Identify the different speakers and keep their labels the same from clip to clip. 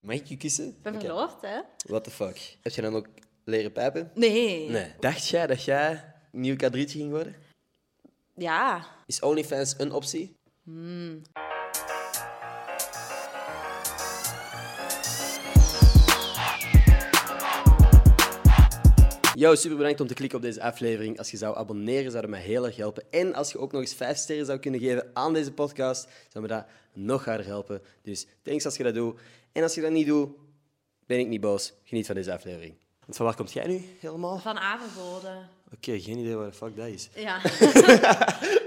Speaker 1: Mag ik je kussen?
Speaker 2: Ik ben
Speaker 1: Oké.
Speaker 2: verloofd, hè?
Speaker 1: What the fuck? Heb je dan ook leren pijpen?
Speaker 2: Nee.
Speaker 1: Nee. Dacht jij dat jij nieuw kadrietje ging worden?
Speaker 2: Ja.
Speaker 1: Is OnlyFans een optie? Hmm. Yo, super bedankt om te klikken op deze aflevering. Als je zou abonneren, zou dat mij heel erg helpen. En als je ook nog eens 5 sterren zou kunnen geven aan deze podcast, zou me dat nog harder helpen. Dus thanks als je dat doet. En als je dat niet doet, ben ik niet boos. Geniet van deze aflevering. Want van waar komt jij nu helemaal? Oké,
Speaker 2: Van Averboden.
Speaker 1: geen idee waar de fuck dat is.
Speaker 2: Ja.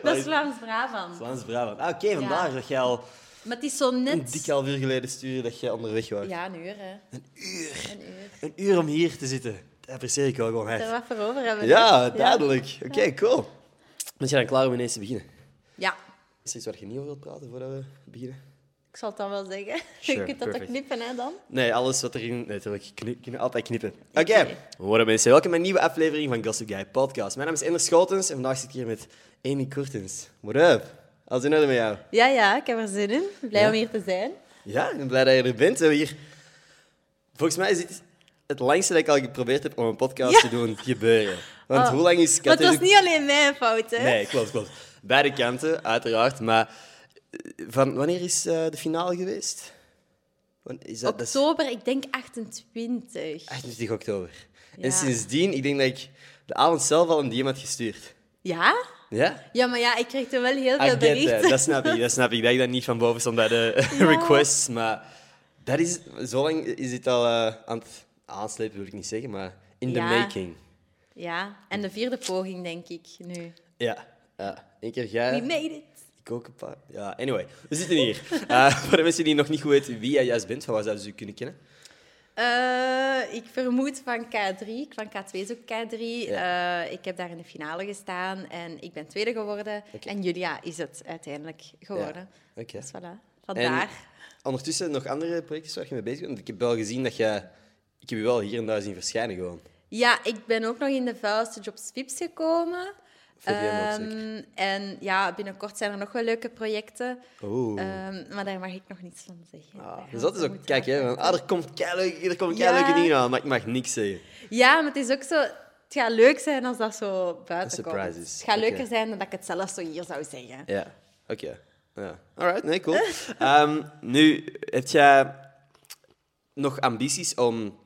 Speaker 2: dat is Vlaams-Brabant.
Speaker 1: Vlaams-Brabant. Ah, oké, vandaar
Speaker 2: Ja.
Speaker 1: dat jij al
Speaker 2: Maar het is zo
Speaker 1: een
Speaker 2: net...
Speaker 1: dik half uur geleden stuurde dat jij onderweg was.
Speaker 2: Ja, een uur, hè. Een uur. Een uur.
Speaker 1: Een uur om hier te zitten. Dat apprecieer ik wel gewoon
Speaker 2: Daar
Speaker 1: hard.
Speaker 2: wat voor over hebben. dus.
Speaker 1: Ja, duidelijk. Oké, cool. Ben je dan klaar om ineens te beginnen?
Speaker 2: Ja.
Speaker 1: Is er iets waar je niet over wilt praten voordat we beginnen?
Speaker 2: Ik zal het dan wel zeggen.
Speaker 1: Sure,
Speaker 2: je kunt dat
Speaker 1: perfect.
Speaker 2: toch knippen, hè, dan?
Speaker 1: Nee, alles wat erin... Nee, natuurlijk. Kni- Kunnen altijd knippen. Oké. Hoi mensen, welkom bij een nieuwe aflevering van Gossip Guy Podcast. Mijn naam is Ender Schotens en vandaag zit ik hier met Amy Kortens. What up? Alles in orde met jou?
Speaker 2: Ja, ja, ik heb er zin in. Blij
Speaker 1: Ja.
Speaker 2: om hier te zijn.
Speaker 1: Ja, ik ben blij dat je er bent. We hebben hier... Volgens mij is dit het langste dat ik al geprobeerd heb om een podcast
Speaker 2: Ja. Ah.
Speaker 1: te doen gebeuren. Want hoe lang is
Speaker 2: Oh. Maar het was
Speaker 1: Katholiek-
Speaker 2: niet alleen mijn fout, hè?
Speaker 1: Nee, klopt, klopt. Beide kanten, uiteraard. Maar eh, van, wanneer is eh, de finale geweest? Wan- Is dat, dat is
Speaker 2: Oktober, ik denk 28.
Speaker 1: 28 oktober.
Speaker 2: Ja.
Speaker 1: En sindsdien, ik denk dat ik de avond zelf al een DM had gestuurd.
Speaker 2: Ja?
Speaker 1: Ja?
Speaker 2: Ja, maar ja, ik kreeg toen wel heel
Speaker 1: I get
Speaker 2: veel
Speaker 1: that.
Speaker 2: berichten.
Speaker 1: Dat snap ik, dat snap ik. Dat ik dat niet van boven stond bij de requests. Maar dat is, zo lang is dit al eh, aan het aanslepen, wil ik niet zeggen, maar in the
Speaker 2: Ja.
Speaker 1: making.
Speaker 2: Ja, en de vierde poging, denk ik, nu.
Speaker 1: Ja. Ja, één keer
Speaker 2: We
Speaker 1: jij,
Speaker 2: made it.
Speaker 1: ik ook een paar. Ja, anyway, we zitten hier. Eh, voor de mensen die nog niet goed weten wie jij juist bent, van waar zouden ze je kunnen kennen?
Speaker 2: Eh, ik vermoed van K3. Ik Van K2 is ook K3. Eh, ik heb daar in de finale gestaan en ik ben tweede geworden.
Speaker 1: Oké.
Speaker 2: En Julia is het uiteindelijk geworden.
Speaker 1: Ja, oké.
Speaker 2: Dus voilà, vandaar.
Speaker 1: Ondertussen nog andere projecten waar je mee bezig bent? Want ik heb wel gezien dat je... Ik heb je wel hier en daar zien verschijnen gewoon.
Speaker 2: Ja, ik ben ook nog in de vuilste jobs VIPs gekomen.
Speaker 1: Voor die hem ook
Speaker 2: Ehm,
Speaker 1: zeker.
Speaker 2: en ja, binnenkort zijn er nog wel leuke projecten.
Speaker 1: Oeh.
Speaker 2: Ehm, maar daar mag ik nog niets van zeggen. Daar gaan
Speaker 1: Ah,
Speaker 2: we
Speaker 1: dus dat is
Speaker 2: zo
Speaker 1: ook...
Speaker 2: moeten
Speaker 1: Kijk, hè,
Speaker 2: wachten.
Speaker 1: van, ah, er komt keileuke, er komt
Speaker 2: Ja.
Speaker 1: keileuke dingen aan, maar ik mag niks zeggen.
Speaker 2: Ja, maar het is ook zo... Het gaat leuk zijn als dat zo buiten
Speaker 1: Een surprise
Speaker 2: komt.
Speaker 1: is.
Speaker 2: Het gaat
Speaker 1: Oké.
Speaker 2: leuker zijn dan dat ik het zelf zo hier zou zeggen.
Speaker 1: Ja. Oké. Ja. Alright, nee, cool. Ehm, nu, heb jij nog ambities om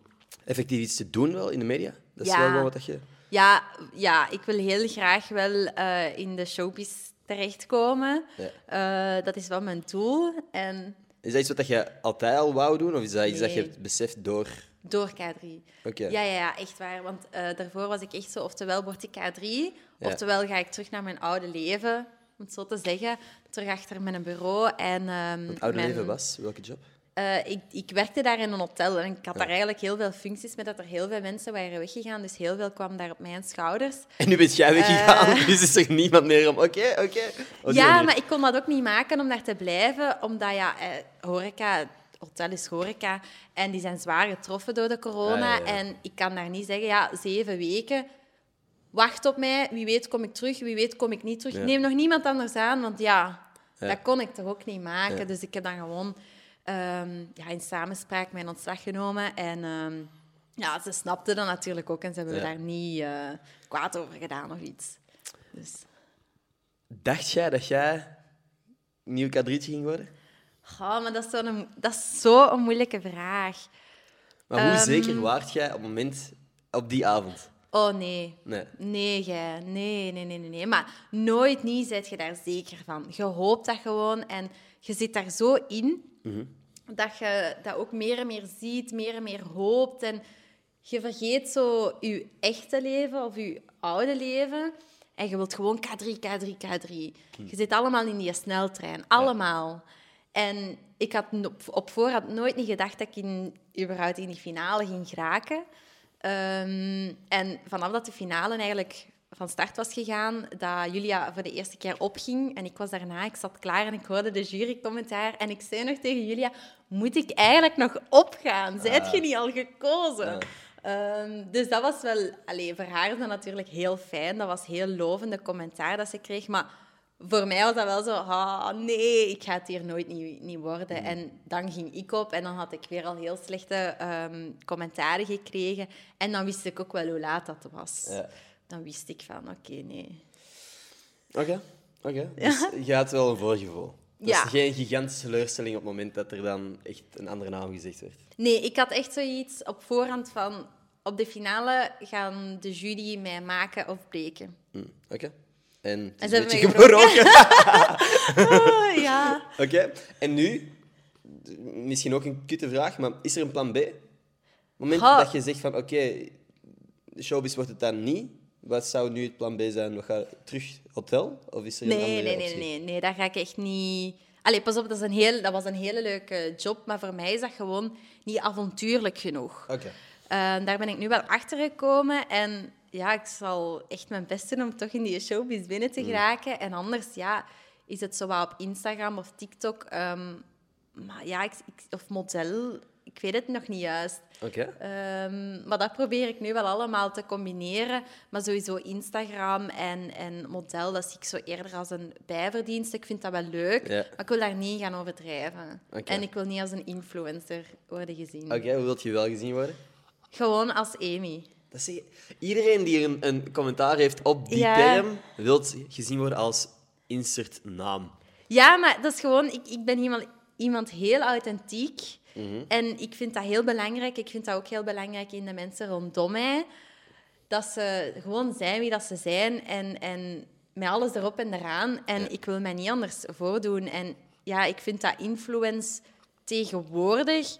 Speaker 1: effectief iets te doen wel in de media? Dat is
Speaker 2: Ja.
Speaker 1: wel gewoon wat dat je...
Speaker 2: Ja, ja ik wil heel graag wel eh, in de showbiz terechtkomen.
Speaker 1: Ja.
Speaker 2: Eh, dat is wel mijn doel. En
Speaker 1: Is dat iets wat dat je altijd al wou doen? Of is dat iets dat je
Speaker 2: Nee.
Speaker 1: hebt beseft door...
Speaker 2: door K3.
Speaker 1: Oké.
Speaker 2: Ja, ja, ja, echt waar. Want eh, daarvoor was ik echt zo, oftewel word ik K3, oftewel ga ik terug naar mijn oude leven, om het zo te zeggen. Terug achter mijn bureau. En, ehm
Speaker 1: Het oude
Speaker 2: mijn-
Speaker 1: leven was? Welke job?
Speaker 2: Eh, ik, ik werkte daar in een hotel en ik had daar eigenlijk heel veel functies met dat er heel veel mensen waren weggegaan. Dus heel veel kwam daar op mijn schouders.
Speaker 1: En nu bent jij weggegaan, dus is er niemand meer om. Oké, oké. Oh, Op die
Speaker 2: Eh. ja,
Speaker 1: manier.
Speaker 2: maar ik kon dat ook niet maken om daar te blijven, omdat ja, eh, horeca, hotel is horeca en die zijn zwaar getroffen door de corona.
Speaker 1: Ah, ja, ja.
Speaker 2: En ik kan daar niet zeggen, ja, zeven weken, wacht op mij, wie weet kom ik terug, wie weet kom ik niet terug.
Speaker 1: Ja.
Speaker 2: Neem nog niemand anders aan, want ja,
Speaker 1: Ja.
Speaker 2: dat kon ik toch ook niet maken.
Speaker 1: Ja.
Speaker 2: Dus ik heb dan gewoon ehm, ja, in samenspraak mijn ontslag genomen en... ehm, ja, ze snapten dat natuurlijk ook en ze hebben
Speaker 1: Ja.
Speaker 2: daar niet eh, kwaad over gedaan of iets. Dus.
Speaker 1: Dacht jij dat jij nieuw kadrietje ging worden?
Speaker 2: Goh, maar dat is zo'n dat is zo een moeilijke vraag.
Speaker 1: Maar hoe
Speaker 2: Ehm,
Speaker 1: zeker waart jij op het moment, op die avond?
Speaker 2: Oh nee.
Speaker 1: Nee.
Speaker 2: Nee, jij. Nee, nee, nee, nee, nee. Maar nooit niet zit je daar zeker van. Je hoopt dat gewoon en je zit daar zo in dat je dat ook meer en meer ziet, meer en meer hoopt. En je vergeet zo je echte leven of je oude leven. En je wilt gewoon K3, K3, K3. Je zit allemaal in die sneltrein. Allemaal. En ik had n- op, op voorhand nooit niet gedacht dat ik in, überhaupt in die finale ging geraken. Ehm, en vanaf dat de finale eigenlijk van start was gegaan, dat Julia voor de eerste keer opging en ik was daarna, ik zat klaar en ik hoorde de jurycommentaar en ik zei nog tegen Julia, moet ik eigenlijk nog opgaan? Zijt je niet al gekozen? Ehm, dus dat was wel... Allee, voor haar is dat natuurlijk heel fijn. Dat was heel lovende commentaar dat ze kreeg. Maar voor mij was dat wel zo, ah, nee, ik ga het hier nooit niet, niet worden. En dan ging ik op en dan had ik weer al heel slechte ehm, commentaren gekregen. En dan wist ik ook wel hoe laat dat was.
Speaker 1: Ja.
Speaker 2: Dan wist ik van, oké, nee.
Speaker 1: Oké, oké. Dus je had wel een voorgevoel. Dat
Speaker 2: Ja.
Speaker 1: is geen gigantische teleurstelling op het moment dat er dan echt een andere naam gezegd werd.
Speaker 2: Nee, ik had echt zoiets op voorhand van... Op de finale gaan de jury mij maken of breken.
Speaker 1: Hm, Oké. En het is
Speaker 2: En ze
Speaker 1: een
Speaker 2: hebben
Speaker 1: beetje
Speaker 2: me gebroken.
Speaker 1: gebroken.
Speaker 2: Ah, ja.
Speaker 1: Oké, en nu, d- misschien ook een kutte vraag, maar is er een plan B? Op het moment
Speaker 2: Goh.
Speaker 1: dat je zegt van oké, showbiz wordt het dan niet, wat zou nu het plan B zijn? We gaan terug hotel? Of is er een
Speaker 2: Nee,
Speaker 1: andere
Speaker 2: nee, nee,
Speaker 1: optie?
Speaker 2: nee, nee. Dat ga ik echt niet... Allee, pas op, dat, is een heel, dat was een hele leuke job. Maar voor mij is dat gewoon niet avontuurlijk genoeg.
Speaker 1: Oké.
Speaker 2: Eh, daar ben ik nu wel achter gekomen. En ja, ik zal echt mijn best doen om toch in die showbiz binnen
Speaker 1: Mm.
Speaker 2: te geraken. En anders, ja, is het zowel op Instagram of TikTok. ehm, maar ja, ik, ik- of model, ik weet het nog niet juist.
Speaker 1: Oké.
Speaker 2: Ehm, maar dat probeer ik nu wel allemaal te combineren. Maar sowieso Instagram en, en model, dat zie ik zo eerder als een bijverdienst. Ik vind dat wel leuk,
Speaker 1: Ja.
Speaker 2: maar ik wil daar niet in gaan overdrijven.
Speaker 1: Oké.
Speaker 2: En ik wil niet als een influencer worden gezien.
Speaker 1: Oké, hoe wilt je wel gezien worden?
Speaker 2: Gewoon als Amy.
Speaker 1: Dat zie je- Iedereen die een, een commentaar heeft op die
Speaker 2: Ja.
Speaker 1: term, wil gezien worden als insert naam.
Speaker 2: Ja, maar dat is gewoon... Ik, ik ben iemand, iemand heel authentiek. En ik vind dat heel belangrijk. Ik vind dat ook heel belangrijk in de mensen rondom mij. Dat ze gewoon zijn wie dat ze zijn. En, en met alles erop en eraan. En ik wil mij niet anders voordoen. En ja, ik vind dat influence tegenwoordig...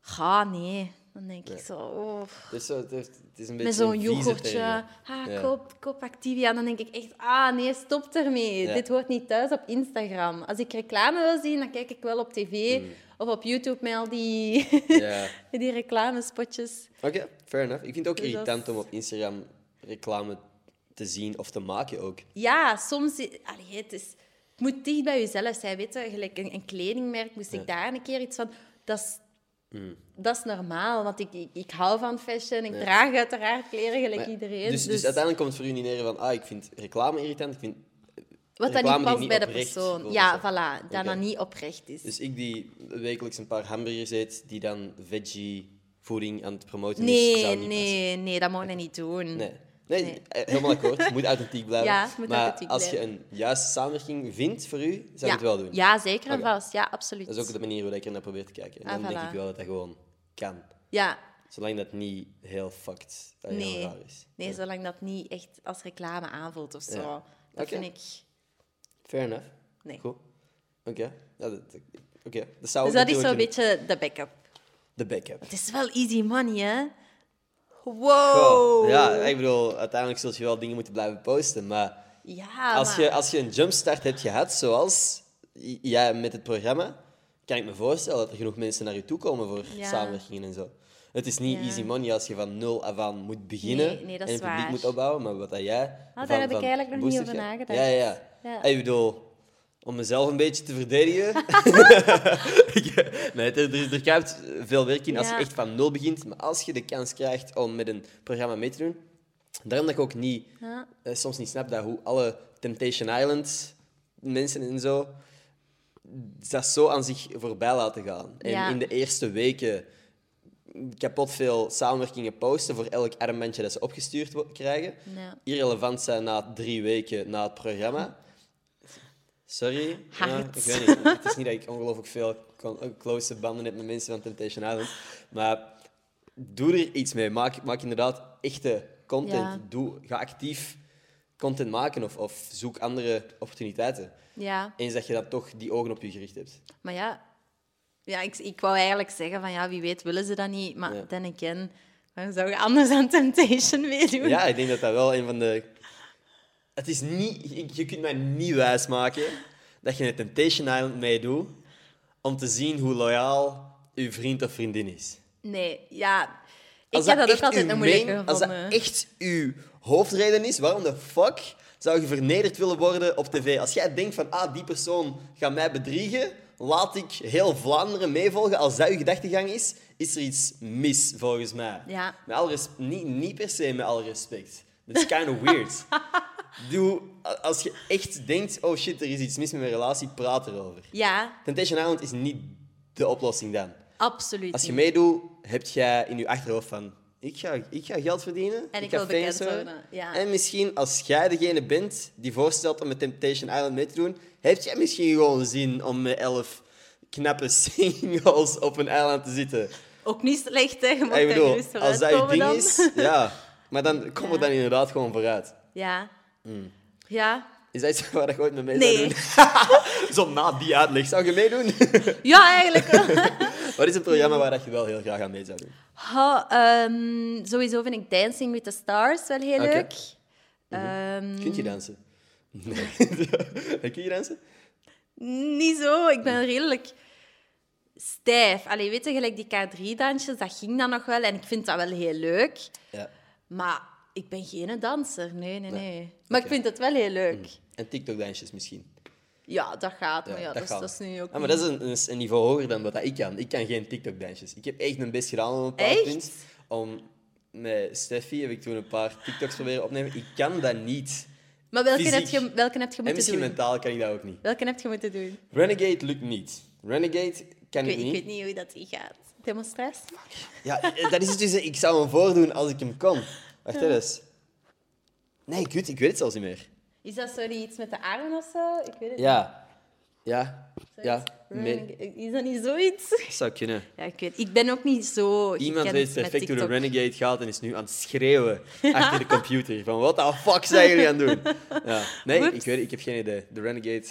Speaker 2: Ga, nee. Dan denk ik zo... Oh.
Speaker 1: Dus zo, het, heeft- het is een beetje
Speaker 2: Met zo'n
Speaker 1: een vieze
Speaker 2: yoghurtje.
Speaker 1: term.
Speaker 2: Ah,
Speaker 1: Ja.
Speaker 2: koop, koop Activia. Dan denk ik echt, ah nee, stop ermee.
Speaker 1: Ja.
Speaker 2: Dit hoort niet thuis op Instagram. Als ik reclame wil zien, dan kijk ik wel op tv of op YouTube met al die,
Speaker 1: Mm. Ja.
Speaker 2: die reclamespotjes.
Speaker 1: Oké, fair enough. Ik vind het ook
Speaker 2: Dus dat
Speaker 1: irritant
Speaker 2: is-
Speaker 1: om op Instagram reclame te zien of te maken ook.
Speaker 2: Ja, soms... i- Allee, het, is, het moet dicht bij jezelf zijn, weet je. Gelijk een, een kledingmerk, moest ik daar een keer iets van... Dat is,
Speaker 1: Mm.
Speaker 2: dat is normaal, want ik, ik, ik hou van fashion. Ik draag uiteraard kleren, gelijk
Speaker 1: Maar-
Speaker 2: iedereen.
Speaker 1: dus, dus uiteindelijk komt het voor u niet neer van, ah, ik vind reclame irritant. Ik vind,
Speaker 2: Wat dan
Speaker 1: reclame
Speaker 2: niet
Speaker 1: die
Speaker 2: past
Speaker 1: niet
Speaker 2: bij de
Speaker 1: oprecht
Speaker 2: persoon.
Speaker 1: voelt
Speaker 2: Ja,
Speaker 1: of zo.
Speaker 2: voilà. Dat
Speaker 1: Oké.
Speaker 2: dat niet oprecht is.
Speaker 1: dus ik die wekelijks een paar hamburgers eet, die dan veggie voeding aan het promoten is,
Speaker 2: Nee,
Speaker 1: zou niet passen.
Speaker 2: nee, nee, dat mag je niet doen.
Speaker 1: Nee. Nee,
Speaker 2: Nee.
Speaker 1: eh, helemaal akkoord. Je moet authentiek blijven.
Speaker 2: Ja, het moet
Speaker 1: maar
Speaker 2: authentiek
Speaker 1: als
Speaker 2: blijven.
Speaker 1: je een juiste samenwerking vindt voor u, zou je
Speaker 2: ja.
Speaker 1: het wel doen.
Speaker 2: Ja, zeker en
Speaker 1: Oké.
Speaker 2: vast. Ja, absoluut.
Speaker 1: Dat is ook de manier hoe ik er naar probeer te kijken. En
Speaker 2: Ah,
Speaker 1: dan denk
Speaker 2: voilà.
Speaker 1: ik wel dat dat gewoon kan.
Speaker 2: Ja,
Speaker 1: Zolang dat niet heel fucked en
Speaker 2: nee.
Speaker 1: heel raar is.
Speaker 2: Nee, zolang dat niet echt als reclame aanvoelt of zo.
Speaker 1: Ja.
Speaker 2: Dat
Speaker 1: Oké.
Speaker 2: vind ik...
Speaker 1: Fair enough.
Speaker 2: Nee.
Speaker 1: Goed. Oké. Ja, dat, oké. dat zou
Speaker 2: Dus
Speaker 1: ook
Speaker 2: dat is
Speaker 1: natuurlijk
Speaker 2: zo'n
Speaker 1: kunnen.
Speaker 2: beetje de backup.
Speaker 1: De backup.
Speaker 2: Het is wel easy money, hè? Wow! Oh.
Speaker 1: Goh. Ja, ik bedoel, uiteindelijk zul je wel dingen moeten blijven posten, maar...
Speaker 2: Ja,
Speaker 1: Als
Speaker 2: maar-
Speaker 1: je, als je een jumpstart hebt gehad, zoals j- jij met het programma, kan ik me voorstellen dat er genoeg mensen naar je toe komen voor
Speaker 2: Ja.
Speaker 1: samenwerkingen en zo. Het is niet
Speaker 2: Ja.
Speaker 1: easy money als je van nul af aan moet beginnen
Speaker 2: Nee, nee, dat
Speaker 1: en
Speaker 2: is
Speaker 1: een publiek
Speaker 2: waar. Ah,
Speaker 1: moet opbouwen, maar wat dat jij...
Speaker 2: daar
Speaker 1: van-
Speaker 2: heb ik
Speaker 1: van
Speaker 2: eigenlijk nog niet
Speaker 1: boostert
Speaker 2: over
Speaker 1: gaat.
Speaker 2: nagedacht.
Speaker 1: Ja, ja, ja.
Speaker 2: Ja.
Speaker 1: Ik bedoel, om mezelf een beetje te verdedigen... Ik- nee, er, er, er kruipt veel werk in als je
Speaker 2: Ja.
Speaker 1: echt van nul begint, maar als je de kans krijgt om met een programma mee te doen... Daarom dat ik ook niet
Speaker 2: Ja.
Speaker 1: eh, soms niet snap dat hoe alle Temptation Island mensen en zo dat zo aan zich voorbij laten gaan. En
Speaker 2: Ja.
Speaker 1: in de eerste weken kapot veel samenwerkingen posten voor elk armbandje dat ze opgestuurd wo- krijgen.
Speaker 2: Ja.
Speaker 1: Irrelevant zijn na drie weken na het programma. Sorry, ja,
Speaker 2: Hard.
Speaker 1: ik weet niet. Het is niet dat ik ongelooflijk veel con- close banden heb met mensen van Temptation Island. Maar doe er iets mee. Maak, maak inderdaad echte content.
Speaker 2: Ja.
Speaker 1: Doe, ga actief content maken of, of zoek andere opportuniteiten.
Speaker 2: ja.
Speaker 1: Eens dat je dan toch die ogen op je gericht hebt.
Speaker 2: Maar ja, ja ik, ik wou eigenlijk zeggen van ja, wie weet willen ze dat niet. Maar
Speaker 1: Ja.
Speaker 2: dan again, waarom zou je anders aan Temptation meedoen?
Speaker 1: Ja, ik denk dat dat wel een van de... Het is niet... je- Je kunt mij niet wijsmaken dat je een Temptation Island meedoet om te zien hoe loyaal je vriend of vriendin is.
Speaker 2: Nee, ja. Ik heb dat ook
Speaker 1: echt
Speaker 2: altijd
Speaker 1: uw
Speaker 2: een moeilijke
Speaker 1: main- Als dat
Speaker 2: gevonden.
Speaker 1: echt uw hoofdreden is, waarom de fuck zou je vernederd willen worden op tv? Als jij denkt van, ah, die persoon gaat mij bedriegen, laat ik heel Vlaanderen meevolgen. Als dat uw gedachtegang is, is er iets mis, volgens mij.
Speaker 2: Ja.
Speaker 1: Met alle res- niet, niet per se met alle respect. Dat is kind of weird. Doe, a- als je echt denkt, oh shit, er is iets mis met mijn relatie, praat erover.
Speaker 2: Ja,
Speaker 1: Temptation Island is niet de oplossing dan.
Speaker 2: absoluut.
Speaker 1: Als je
Speaker 2: niet.
Speaker 1: meedoet, heb jij in je achterhoofd van... Ik ga, ik ga geld verdienen.
Speaker 2: En ik
Speaker 1: ga
Speaker 2: wil bekend
Speaker 1: famous worden.
Speaker 2: worden, ja.
Speaker 1: En misschien, als jij degene bent die voorstelt om met Temptation Island mee te doen... Heb jij misschien gewoon zin om met elf knappe singles op een eiland te zitten?
Speaker 2: Ook niet slecht, hè? Je mag
Speaker 1: Ik
Speaker 2: daar
Speaker 1: bedoel,
Speaker 2: gerust
Speaker 1: als dat je
Speaker 2: vooruitkomen
Speaker 1: ding
Speaker 2: dan.
Speaker 1: is... Ja. Maar dan kom er
Speaker 2: Ja.
Speaker 1: dan inderdaad gewoon vooruit.
Speaker 2: Ja.
Speaker 1: Hmm.
Speaker 2: Ja.
Speaker 1: Is dat iets waar ik ooit mee mee zou
Speaker 2: Nee.
Speaker 1: doen? Zo na die uitleg. Zou je meedoen?
Speaker 2: Ja, eigenlijk wel.
Speaker 1: Wat is een programma waar dat je wel heel graag aan mee zou doen?
Speaker 2: Ha, ehm, sowieso vind ik Dancing with the Stars wel heel
Speaker 1: Oké.
Speaker 2: leuk. Ehm,
Speaker 1: Kunt je dansen? Nee. Kun je dansen?
Speaker 2: Niet zo, ik
Speaker 1: Hmm.
Speaker 2: ben redelijk stijf. Allee, weet je, gelijk die K3-dansjes, dat ging dan nog wel. En ik vind dat wel heel leuk.
Speaker 1: Ja.
Speaker 2: Maar ik ben geen danser, nee, nee, nee. Maar
Speaker 1: Oké. Hmm.
Speaker 2: ik vind het wel heel leuk.
Speaker 1: En TikTok-dansjes misschien.
Speaker 2: Ja, dat gaat, maar Oh ja, dat, is-
Speaker 1: gaat.
Speaker 2: dat is nu ook
Speaker 1: Ah, maar
Speaker 2: niet-
Speaker 1: dat is een, een, een niveau hoger dan wat dat ik kan. Ik kan geen TikTok-dansjes. Ik heb echt mijn best gedaan op een
Speaker 2: Echt?
Speaker 1: paar punten. Om... Met Steffi heb ik toen een paar TikToks proberen opnemen. Ik kan dat niet.
Speaker 2: Maar welke heb,
Speaker 1: fysiek.
Speaker 2: je, welke heb
Speaker 1: En
Speaker 2: je moeten
Speaker 1: misschien
Speaker 2: doen?
Speaker 1: mentaal kan ik dat ook niet.
Speaker 2: Welke heb je moeten doen?
Speaker 1: Renegade lukt niet. Renegade kan
Speaker 2: Ik
Speaker 1: ik,
Speaker 2: weet, ik
Speaker 1: niet.
Speaker 2: weet niet hoe dat die gaat. Demonstratie?
Speaker 1: Ja, eh, dat is het dus. eh, Ik zou hem voordoen als ik hem kon. Wacht eens. Nee, kut, ik weet het zelfs niet meer.
Speaker 2: Is dat zo die iets met de armen of zo? Ik weet het
Speaker 1: Ja. Ja. Ja.
Speaker 2: niet.
Speaker 1: Nee,
Speaker 2: Is dat niet zoiets?
Speaker 1: dat zou kunnen.
Speaker 2: Ja, ik weet Ik ben ook niet zo...
Speaker 1: Iemand
Speaker 2: gekend
Speaker 1: weet
Speaker 2: met
Speaker 1: perfect hoe de
Speaker 2: TikTok.
Speaker 1: Renegade gaat en is nu aan het schreeuwen achter de computer. Van, wat de fuck zijn jullie aan het doen? Ja. Nee, ik
Speaker 2: Oeps.
Speaker 1: weet het, ik heb geen idee. De Renegade,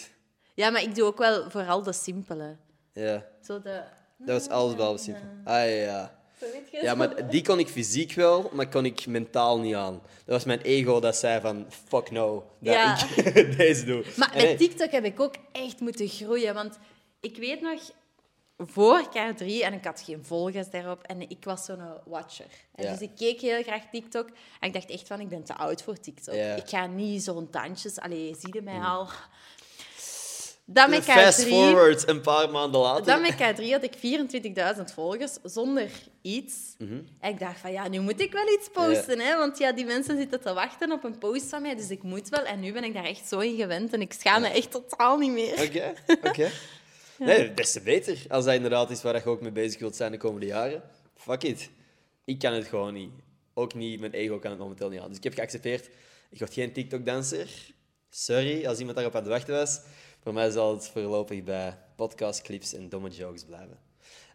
Speaker 2: Ja, maar ik doe ook wel vooral de simpele.
Speaker 1: ja.
Speaker 2: Zo de...
Speaker 1: Dat was alles behalve simpel. Ah ja.
Speaker 2: Zo weet je
Speaker 1: Ja, maar die kon ik fysiek wel, maar kon ik mentaal niet aan. Dat was mijn ego dat zei van, fuck no, dat
Speaker 2: Ja.
Speaker 1: ik deze doe.
Speaker 2: Maar
Speaker 1: En
Speaker 2: met
Speaker 1: nee,
Speaker 2: TikTok heb ik ook echt moeten groeien. Want ik weet nog, voor K3, en ik had geen volgers daarop, en ik was zo'n watcher. En
Speaker 1: Ja.
Speaker 2: Dus ik keek heel graag TikTok. En ik dacht echt van, ik ben te oud voor TikTok.
Speaker 1: Ja. Mm.
Speaker 2: Ik ga niet zo'n dansjes... Allee, zie je mij al? Dan met
Speaker 1: Fast
Speaker 2: K3...
Speaker 1: forward een paar maanden later.
Speaker 2: Dan met K3 had ik 24.000 volgers zonder iets.
Speaker 1: Mhm.
Speaker 2: En ik dacht van ja, nu moet ik wel iets posten. Hè? Want ja, die mensen zitten te wachten op een post van mij. Dus ik moet wel. En nu ben ik daar echt zo in gewend. En ik schaam me echt totaal niet meer.
Speaker 1: Oké, oké. Nee, des te beter. Als dat inderdaad is waar je ook mee bezig wilt zijn de komende jaren. Fuck it. Ik kan het gewoon niet. Ook niet, mijn ego kan het momenteel niet aan. Dus ik heb geaccepteerd, ik word geen TikTok-danser. Sorry als iemand daarop aan het wachten was. Voor mij zal het voorlopig bij podcastclips en domme jokes blijven.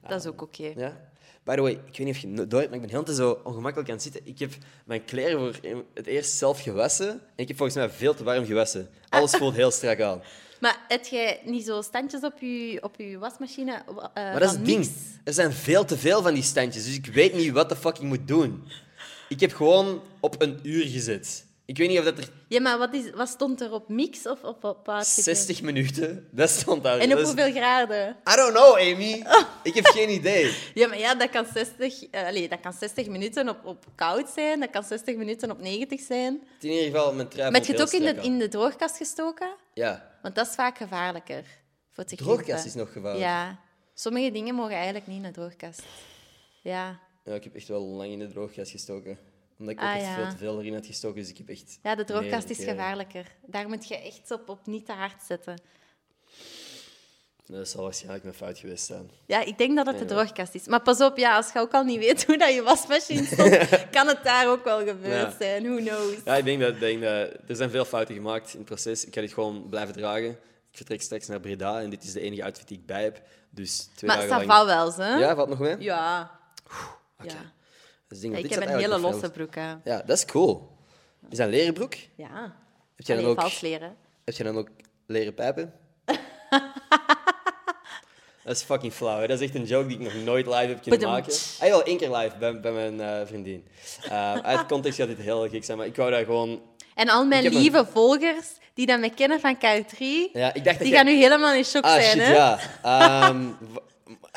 Speaker 2: Dat is ook oké.
Speaker 1: Ja? By the way, ik weet niet of je het door hebt, maar ik ben heel te zo ongemakkelijk aan het zitten. Ik heb mijn kleren voor het eerst zelf gewassen. En ik heb volgens mij veel te warm gewassen. Alles voelt heel strak aan.
Speaker 2: Maar heb jij niet zo standjes op je, op je wasmachine? wa- eh,
Speaker 1: Maar dat is
Speaker 2: van
Speaker 1: het ding.
Speaker 2: niks?
Speaker 1: Er zijn veel te veel van die standjes, dus ik weet niet wat de fuck ik moet doen. Ik heb gewoon op een uur gezet. Ik weet niet of dat er
Speaker 2: Ja, maar wat, is, wat stond er op mix of op, op wat?
Speaker 1: 60 minuten... Dat stond daar.
Speaker 2: En op
Speaker 1: Dat is-
Speaker 2: hoeveel Oh. graden?
Speaker 1: I don't know, Amy. Ik heb geen idee.
Speaker 2: Ja, maar ja, dat kan 60, eh, allee, dat kan 60 minuten op, op koud zijn. Dat kan 60 minuten op 90 zijn.
Speaker 1: In ieder geval, mijn trui
Speaker 2: Maar heb
Speaker 1: vond
Speaker 2: je het
Speaker 1: heel
Speaker 2: ook in de,
Speaker 1: strak aan.
Speaker 2: in de droogkast gestoken?
Speaker 1: Ja.
Speaker 2: Want dat is vaak gevaarlijker voor te
Speaker 1: Droogkast
Speaker 2: krimpen.
Speaker 1: is nog gevaarlijker.
Speaker 2: Ja. Sommige dingen mogen eigenlijk niet in de droogkast. Ja.
Speaker 1: ja. Ik heb echt wel lang in de droogkast gestoken. Omdat ik ook
Speaker 2: Ah,
Speaker 1: echt
Speaker 2: ja.
Speaker 1: veel te veel erin had gestoken, dus ik heb echt... eh,
Speaker 2: Ja, de droogkast
Speaker 1: meerdere
Speaker 2: is
Speaker 1: keren-
Speaker 2: gevaarlijker. Daar moet je echt op, op niet te hard zetten.
Speaker 1: Dat zal waarschijnlijk mijn fout geweest zijn.
Speaker 2: Ja, ik denk dat het de
Speaker 1: Ja.
Speaker 2: droogkast is. Maar pas op, ja, als je ook al niet weet hoe dat je wasmachine stond, kan het daar ook wel gebeurd
Speaker 1: Ja.
Speaker 2: zijn. Who knows?
Speaker 1: Ja, ik denk dat, ik denk dat er zijn veel fouten gemaakt in het proces. Ik ga dit gewoon blijven dragen. Ik vertrek straks naar Breda en dit is de enige outfit die ik bij heb. Dus twee
Speaker 2: maar
Speaker 1: dagen
Speaker 2: dat
Speaker 1: lang...
Speaker 2: valt wel, hè?
Speaker 1: Ja, valt nog mee?
Speaker 2: Ja.
Speaker 1: Oké.
Speaker 2: Ja.
Speaker 1: Dus ik denk dat dit
Speaker 2: Ik heb
Speaker 1: staat
Speaker 2: een hele
Speaker 1: eigenlijk nog
Speaker 2: losse
Speaker 1: wel-
Speaker 2: broek aan.
Speaker 1: Ja, dat is cool. Is dat een leren broek?
Speaker 2: Ja.
Speaker 1: Heb jij,
Speaker 2: Allee,
Speaker 1: dan ook,
Speaker 2: vals leren.
Speaker 1: heb jij dan ook leren pijpen? dat is fucking flauw. Hè? Dat is echt een joke die ik nog nooit live heb kunnen
Speaker 2: Bedankt.
Speaker 1: maken. Ah, wel één keer live bij, bij mijn eh, vriendin. Eh, uit context gaat dit heel gek zijn, maar ik wou daar gewoon
Speaker 2: En al mijn
Speaker 1: Ik heb een-
Speaker 2: lieve volgers die dat me kennen van K3,
Speaker 1: Ja, ik dacht dat
Speaker 2: die
Speaker 1: jij-
Speaker 2: gaan nu helemaal in shock
Speaker 1: Ah,
Speaker 2: zijn.
Speaker 1: shit,
Speaker 2: hè?
Speaker 1: ja. Ehm, w-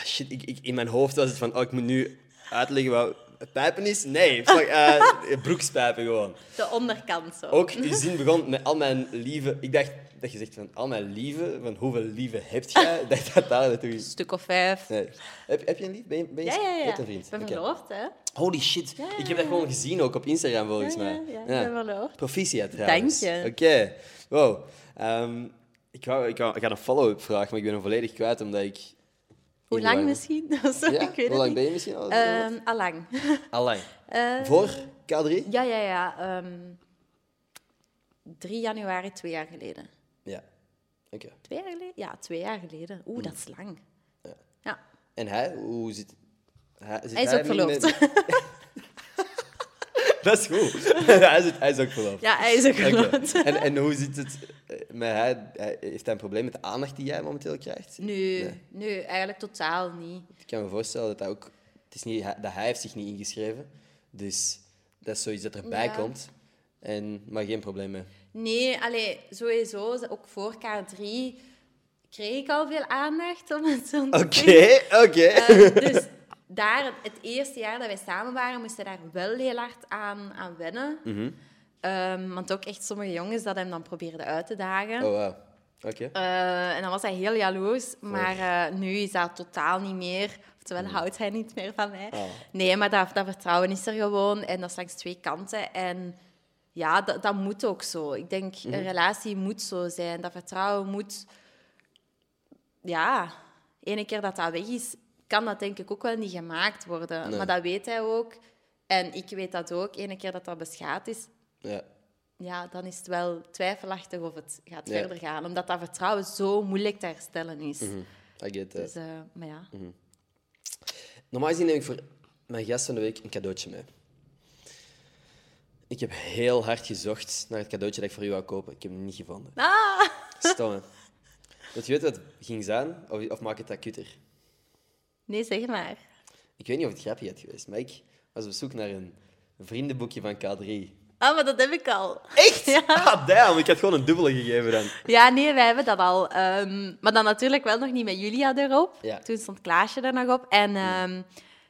Speaker 1: shit, ik, ik, in mijn hoofd was het van, oh, ik moet nu uitleggen wat pijpen is. Nee, fuck, eh, broekspijpen gewoon.
Speaker 2: De onderkant zo.
Speaker 1: Ook, uw zin begon met al mijn lieve... Ik dacht, dat je zegt van al mijn lieve, van hoeveel lieve heb jij, dat dat daar naartoe
Speaker 2: Een
Speaker 1: is.
Speaker 2: stuk of vijf.
Speaker 1: Nee. Heb, heb je een lief? Ben je, ben je,
Speaker 2: Ja, ja,
Speaker 1: je
Speaker 2: ja.
Speaker 1: hebt een
Speaker 2: Ik
Speaker 1: vriend?
Speaker 2: ben
Speaker 1: Oké.
Speaker 2: verloofd, hè?
Speaker 1: Holy shit,
Speaker 2: Ja.
Speaker 1: ik heb dat gewoon gezien ook op Instagram volgens
Speaker 2: Ja,
Speaker 1: mij.
Speaker 2: ja, ja, ik ben verloofd.
Speaker 1: Proficiat trouwens.
Speaker 2: Dank je.
Speaker 1: Oké, wow. Ehm, ik, wou, ik, wou- ik had een follow-up vraag, maar ik ben hem volledig kwijt omdat ik...
Speaker 2: Hoe lang misschien? Zo,
Speaker 1: Ja?
Speaker 2: ik weet
Speaker 1: Hoe
Speaker 2: het
Speaker 1: lang
Speaker 2: niet.
Speaker 1: ben je misschien al?
Speaker 2: Ehm, allang.
Speaker 1: Allang.
Speaker 2: Eh,
Speaker 1: Voor K3?
Speaker 2: ja, ja, ja. ehm, 3 januari, twee jaar geleden.
Speaker 1: Ja. Oké.
Speaker 2: Twee jaar geleden? Ja, twee jaar geleden.
Speaker 1: Hmm.
Speaker 2: Oeh, dat is lang.
Speaker 1: Ja.
Speaker 2: Ja.
Speaker 1: En hij, hoe zit hij? zit
Speaker 2: Hij is ook
Speaker 1: niet met-
Speaker 2: verloofd.
Speaker 1: Dat is goed. hij, zit, hij is ook verloofd.
Speaker 2: Ja, hij is ook
Speaker 1: Oké.
Speaker 2: verloofd.
Speaker 1: En, en hoe zit het? eh, Met hij, hij- heeft hij een probleem met de aandacht die jij momenteel krijgt?
Speaker 2: Nee, nee. eigenlijk totaal niet.
Speaker 1: Ik kan me voorstellen dat hij ook... Het is niet, hij- dat hij heeft zich niet ingeschreven. Dus dat is zoiets dat erbij
Speaker 2: Ja.
Speaker 1: komt. En, maar geen probleem mee.
Speaker 2: Nee, allee, sowieso, ze- ook voor K3 kreeg ik al veel aandacht, om het zo te
Speaker 1: Oké,
Speaker 2: zeggen.
Speaker 1: oké.
Speaker 2: Eh, dus daar, het eerste jaar dat wij samen waren, moesten we daar wel heel hard aan, aan wennen. Ehm, want ook echt sommige jongens dat hem dan probeerden uit te dagen.
Speaker 1: Oh, wauw. Oké.
Speaker 2: Eh, en dan was hij heel jaloers, maar eh, nu is dat totaal niet meer. Oftewel houdt hij niet meer van mij.
Speaker 1: Ah.
Speaker 2: Nee, maar dat, dat vertrouwen is er gewoon en dat is langs twee kanten. En ja, dat, dat moet ook zo. Ik denk,
Speaker 1: Mhm.
Speaker 2: een relatie moet zo zijn. Dat vertrouwen moet. Ja, ene keer dat dat weg is, kan dat denk ik ook wel niet gemaakt worden.
Speaker 1: Nee.
Speaker 2: Maar dat weet hij ook. En ik weet dat ook. Ene keer dat dat beschadigd is,
Speaker 1: Ja.
Speaker 2: ja, dan is het wel twijfelachtig of het gaat
Speaker 1: Ja. Mhm.
Speaker 2: verder gaan. Omdat dat vertrouwen zo moeilijk te herstellen is.
Speaker 1: I get that.
Speaker 2: Dus, eh, maar ja.
Speaker 1: Mhm. Normaal gezien neem ik voor mijn gast van de week een cadeautje mee. Ik heb heel hard gezocht naar het cadeautje dat ik voor u wou kopen. Ik heb hem niet gevonden.
Speaker 2: Ah!
Speaker 1: Stom, hè? Dat je weet wat het ging zijn, of, of maak het acuter.
Speaker 2: Nee, zeg maar.
Speaker 1: Ik weet niet of het grappig had geweest, maar ik was op zoek naar een vriendenboekje van K3.
Speaker 2: Ah, maar dat heb ik al.
Speaker 1: Echt?
Speaker 2: Ja.
Speaker 1: Ah, damn. Ik had gewoon een dubbele gegeven dan.
Speaker 2: Ja, nee, wij hebben dat al. Ehm, maar dan natuurlijk wel nog niet met Julia erop.
Speaker 1: Ja. Mhm.
Speaker 2: Toen stond Klaasje er nog op. En ehm,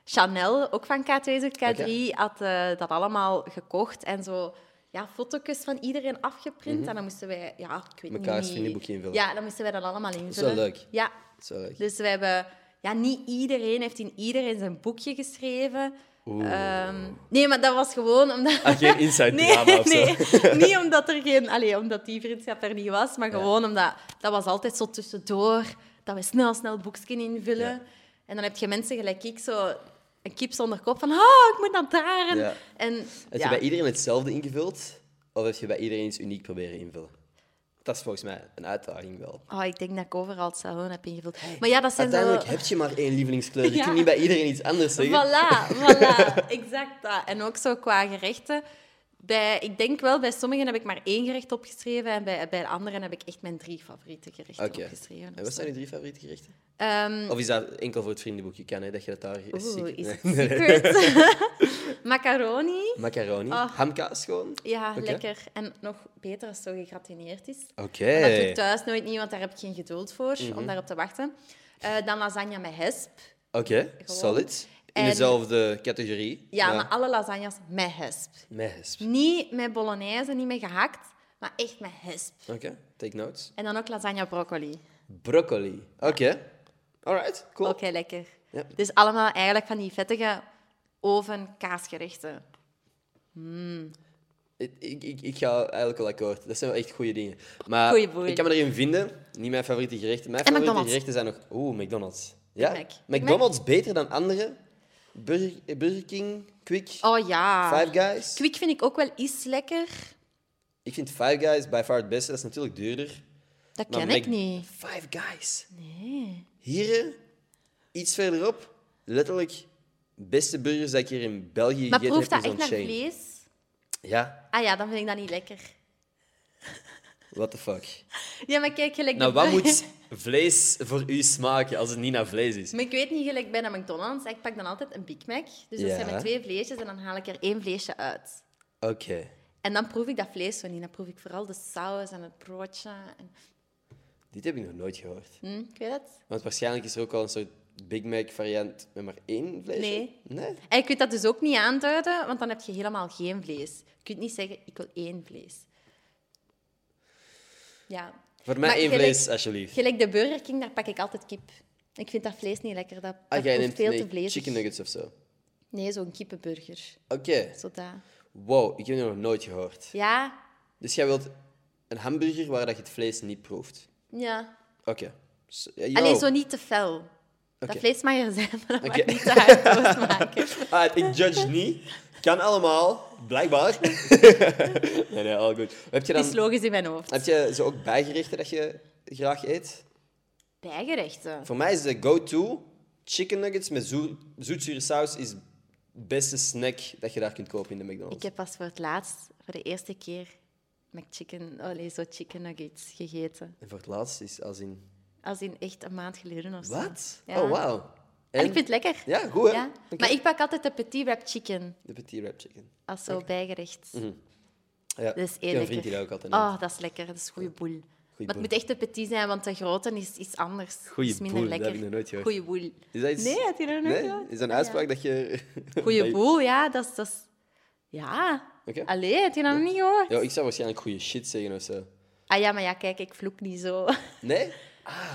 Speaker 2: Chanel, ook van K2 tot K3, had eh, dat allemaal gekocht. En zo ja, foto's van iedereen afgeprint. En dan moesten wij... Ja, ik weet
Speaker 1: Mekaars
Speaker 2: niet...
Speaker 1: Mhm. vriendenboekje invullen.
Speaker 2: Ja, dan moesten wij dat allemaal invullen.
Speaker 1: is wel leuk.
Speaker 2: Ja,
Speaker 1: Dat is wel leuk.
Speaker 2: Dus we hebben... Ja, niet iedereen heeft in iedereen zijn boekje geschreven. Ehm, nee, maar dat was gewoon omdat...
Speaker 1: Ah, geen inside drama of zo.
Speaker 2: niet omdat er geen... Allee, omdat die vriendschap er niet was, maar gewoon omdat... Dat was altijd zo tussendoor, dat we snel, snel het boekje invullen.
Speaker 1: Ja.
Speaker 2: En dan heb je mensen gelijk ik, zo een kip zonder kop van... Oh, ik moet naar daar. En,
Speaker 1: Ja.
Speaker 2: en,
Speaker 1: Heb
Speaker 2: ja.
Speaker 1: je bij iedereen hetzelfde ingevuld, of heb je bij iedereen iets uniek proberen invullen? Dat is volgens mij een uitdaging wel.
Speaker 2: Oh, ik denk dat ik overal hetzelfde heb ingevuld. Maar ja, dat zijn zo...
Speaker 1: Uiteindelijk heb je maar één lievelingskleur. Je
Speaker 2: Ja.
Speaker 1: kunt niet bij iedereen iets anders zeggen.
Speaker 2: Voilà, voilà, exact dat. En ook zo qua gerechten. Bij, ik denk wel, bij sommigen heb ik maar één gerecht opgeschreven en bij, bij de anderen heb ik echt mijn drie favoriete gerechten
Speaker 1: Oké.
Speaker 2: opgeschreven.
Speaker 1: En wat zijn je drie favoriete gerechten?
Speaker 2: Ehm,
Speaker 1: Of is dat enkel voor het vriendenboekje? Kan hè, dat je dat daar is
Speaker 2: Oeh,
Speaker 1: secret-
Speaker 2: is het
Speaker 1: Nee.
Speaker 2: secret? Macaroni.
Speaker 1: Macaroni,
Speaker 2: Oh.
Speaker 1: hamkaas gewoon.
Speaker 2: Ja,
Speaker 1: Oké.
Speaker 2: lekker. En nog beter als het zo gegratineerd is.
Speaker 1: Oké.
Speaker 2: Maar Dat doe ik thuis nooit niet, want daar heb ik geen geduld voor
Speaker 1: Mhm.
Speaker 2: om daarop te wachten. Eh, dan lasagne met hesp.
Speaker 1: Oké, solid. In
Speaker 2: En-
Speaker 1: dezelfde categorie.
Speaker 2: Ja, maar alle lasagnes met hesp.
Speaker 1: Met hesp.
Speaker 2: Niet met bolognese, niet met gehakt, maar echt met hesp.
Speaker 1: Oké, take notes.
Speaker 2: En dan ook lasagne broccoli.
Speaker 1: Broccoli. Oké. Alright, cool.
Speaker 2: Ook heel lekker.
Speaker 1: Ja.
Speaker 2: Dus allemaal eigenlijk van die vettige oven-kaasgerechten.
Speaker 1: Ik, ik, ik- ik ga eigenlijk wel akkoord. Dat zijn wel echt goede dingen. Maar
Speaker 2: Goeie boei.
Speaker 1: ik kan me erin vinden. Niet mijn favoriete gerechten. Mijn
Speaker 2: En
Speaker 1: favoriete
Speaker 2: McDonald's.
Speaker 1: gerechten zijn nog... Oeh, McDonald's. Ja?
Speaker 2: Big Mac. Big
Speaker 1: McDonald's beter dan andere. Burger, Burger King, Quick,
Speaker 2: Oh ja.
Speaker 1: Five Guys.
Speaker 2: Kwik vind ik ook wel iets lekker.
Speaker 1: Ik vind Five Guys by far het beste. Dat is natuurlijk duurder.
Speaker 2: Dat
Speaker 1: Maar
Speaker 2: ken ik
Speaker 1: Mac-
Speaker 2: niet.
Speaker 1: Five Guys.
Speaker 2: Nee.
Speaker 1: Hier, eh, iets verderop, letterlijk beste burgers dat ik hier in België
Speaker 2: Maar
Speaker 1: gegeten heb.
Speaker 2: proeft dat
Speaker 1: is
Speaker 2: echt
Speaker 1: on
Speaker 2: naar
Speaker 1: chain.
Speaker 2: vlees?
Speaker 1: Ja,
Speaker 2: Ah ja, dan vind ik dat niet lekker.
Speaker 1: what the fuck.
Speaker 2: Ja, maar kijk, gelijk...
Speaker 1: Nou,
Speaker 2: bij-
Speaker 1: wat moet vlees voor u smaken als het niet naar vlees is?
Speaker 2: Maar ik weet niet, gelijk bij de McDonald's, ik pak dan altijd een Big Mac. Dus dat
Speaker 1: Ja.
Speaker 2: zijn met twee vleesjes en dan haal ik er één vleesje uit.
Speaker 1: Oké.
Speaker 2: En dan proef ik dat vlees zo niet. Dan proef ik vooral de saus en het broodje. En...
Speaker 1: Dit heb ik nog nooit gehoord.
Speaker 2: Hm, ik weet het.
Speaker 1: Want waarschijnlijk is er ook al een soort Big Mac variant met maar één vlees.
Speaker 2: Nee.
Speaker 1: Nee?
Speaker 2: En je kunt dat dus ook niet aanduiden, want dan heb je helemaal geen vlees. Je kunt niet zeggen, ik wil één vlees. Ja.
Speaker 1: Voor mij
Speaker 2: Maar
Speaker 1: één
Speaker 2: gelijk-
Speaker 1: vlees, alsjeblieft.
Speaker 2: Gelijk de Burger King, daar pak ik altijd kip. Ik vind dat vlees niet lekker. Dat, dat
Speaker 1: Ah, jij
Speaker 2: proeft
Speaker 1: neemt
Speaker 2: veel
Speaker 1: nee,
Speaker 2: te vlees.
Speaker 1: chicken nuggets of zo. Oké.
Speaker 2: Nee, zo'n kippenburger. Zo dat.
Speaker 1: Wow, ik heb het nog nooit gehoord.
Speaker 2: Ja,
Speaker 1: Dus jij wilt een hamburger waar dat je het vlees niet proeft.
Speaker 2: ja.
Speaker 1: Oké. S- ja, yo.
Speaker 2: Alleen Ah, zo niet te fel.
Speaker 1: Oké.
Speaker 2: Dat vlees mag er zijn, maar dat
Speaker 1: Oké.
Speaker 2: mag niet te hard maken.
Speaker 1: Alright, ik judge niet. Kan allemaal, blijkbaar. nee, nee, al goed. Heb je
Speaker 2: Dat is
Speaker 1: dan
Speaker 2: logisch in mijn hoofd.
Speaker 1: heb je zo ook bijgerechten dat je graag eet?
Speaker 2: Bijgerechten.
Speaker 1: Voor mij is de go-to chicken nuggets met zoet, zoetzure saus is het beste snack dat je daar kunt kopen in de McDonald's.
Speaker 2: Ik heb pas voor het laatst, voor de eerste keer, McChicken, allee, zo chicken nuggets gegeten.
Speaker 1: En voor het laatst is als in...
Speaker 2: Als in echt een maand geleden of zo.
Speaker 1: Wat?
Speaker 2: Ja.
Speaker 1: Oh, wauw.
Speaker 2: En, ik vind het lekker.
Speaker 1: Ja, goed, hè?
Speaker 2: Ja.
Speaker 1: Oké.
Speaker 2: Maar ik pak altijd de petit wrap chicken
Speaker 1: De petit wrap chicken.
Speaker 2: als zo bijgerecht.
Speaker 1: Mhm. Ja,
Speaker 2: Dat is
Speaker 1: ik heb
Speaker 2: eerlijk.
Speaker 1: een vriend die dat ook altijd neemt.
Speaker 2: Oh, dat is lekker. Dat is goede boel. maar
Speaker 1: boel.
Speaker 2: het moet echt de petit zijn, want de grote is iets anders.
Speaker 1: Goeie
Speaker 2: is minder
Speaker 1: boel, dat
Speaker 2: lekker.
Speaker 1: heb ik nog nooit gehoord.
Speaker 2: Goeie boel.
Speaker 1: Is dat iets...
Speaker 2: Nee, had je dat nog
Speaker 1: Nee?
Speaker 2: nooit
Speaker 1: Is dat een
Speaker 2: Ah,
Speaker 1: uitspraak dat je...
Speaker 2: Ja. Goeie
Speaker 1: dat je-
Speaker 2: boel, ja. Dat is... Dat is... Ja.
Speaker 1: Oké.
Speaker 2: Allee, had je dat nog niet gehoord?
Speaker 1: Ja, ik zou waarschijnlijk goede shit zeggen of zo.
Speaker 2: Ah ja, maar ja, kijk, ik vloek niet zo.
Speaker 1: Nee?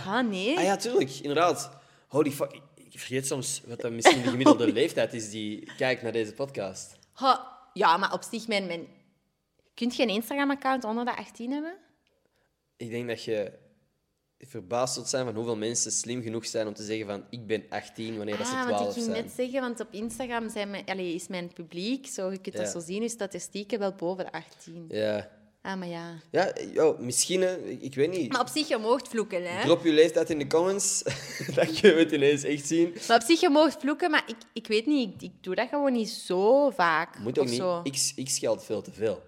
Speaker 2: Ah, nee.
Speaker 1: Ah ja, tuurlijk. Inderdaad. Holy fuck. ik- Ik vergeet soms wat dan misschien de gemiddelde leeftijd is die kijkt naar deze podcast.
Speaker 2: Ha, ja, maar op zich, mijn... mijn... Kunt je een Instagram-account onder de 18 hebben?
Speaker 1: Ik denk dat je verbaasd zult zijn van hoeveel mensen slim genoeg zijn om te zeggen van ik ben 18 wanneer dat ze
Speaker 2: ah, want
Speaker 1: 12
Speaker 2: ik ging
Speaker 1: zijn.
Speaker 2: net zeggen, want op Instagram zijn mijn, allee, is mijn publiek, zo, je kunt
Speaker 1: Ja.
Speaker 2: dat zo zien, uw statistieken wel boven de 18.
Speaker 1: Ja,
Speaker 2: Ah, maar ja.
Speaker 1: ja yo, misschien, hè, ik ik weet niet.
Speaker 2: Maar op zich, je moogt vloeken, hè.
Speaker 1: Drop je leeftijd in de comments, dat je het ineens echt zien.
Speaker 2: Maar op zich, je moogt vloeken, maar ik, ik weet niet, ik, ik doe dat gewoon niet zo vaak.
Speaker 1: Moet ook
Speaker 2: of
Speaker 1: niet.
Speaker 2: zo.
Speaker 1: Ik, ik scheld veel te veel.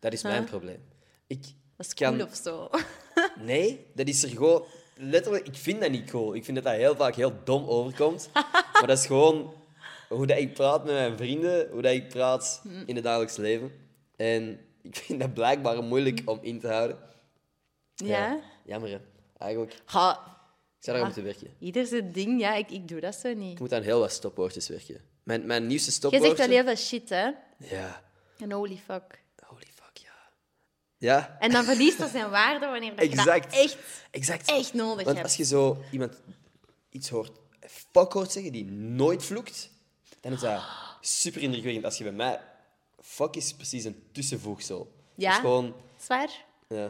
Speaker 1: Dat is mijn probleem. Ik
Speaker 2: Dat is
Speaker 1: kan
Speaker 2: cool of zo.
Speaker 1: Nee, dat is er gewoon... Letterlijk, ik vind dat niet cool. Ik vind dat dat heel vaak heel dom overkomt. maar dat is gewoon hoe dat ik praat met mijn vrienden, hoe dat ik praat
Speaker 2: Mm.
Speaker 1: in het dagelijks leven. En ik vind dat blijkbaar moeilijk om in te houden.
Speaker 2: Ja? Ah.
Speaker 1: Jammer, hè. Eigenlijk, ik
Speaker 2: Ha,
Speaker 1: zou daar
Speaker 2: Ja.
Speaker 1: moeten werken.
Speaker 2: ieder zijn ding, ja, ik, ik doe dat zo niet.
Speaker 1: Ik moet aan heel wat stopwoordjes werken. Mijn, mijn nieuwste
Speaker 2: Je
Speaker 1: stopwoordje...
Speaker 2: zegt wel heel veel shit, hè.
Speaker 1: Ja.
Speaker 2: En holy fuck.
Speaker 1: Holy fuck, ja. Ja,
Speaker 2: En dan verliest dat zijn waarde wanneer dat je dat
Speaker 1: Exact.
Speaker 2: echt,
Speaker 1: exact.
Speaker 2: echt nodig
Speaker 1: Want
Speaker 2: hebt.
Speaker 1: als je zo iemand iets hoort, fuck hoort zeggen, die nooit vloekt, dan is dat super indrukwekkend. Als je bij mij... Fuck is precies een tussenvoegsel.
Speaker 2: Ja.
Speaker 1: Dat is gewoon...
Speaker 2: Zwaar?
Speaker 1: Ja.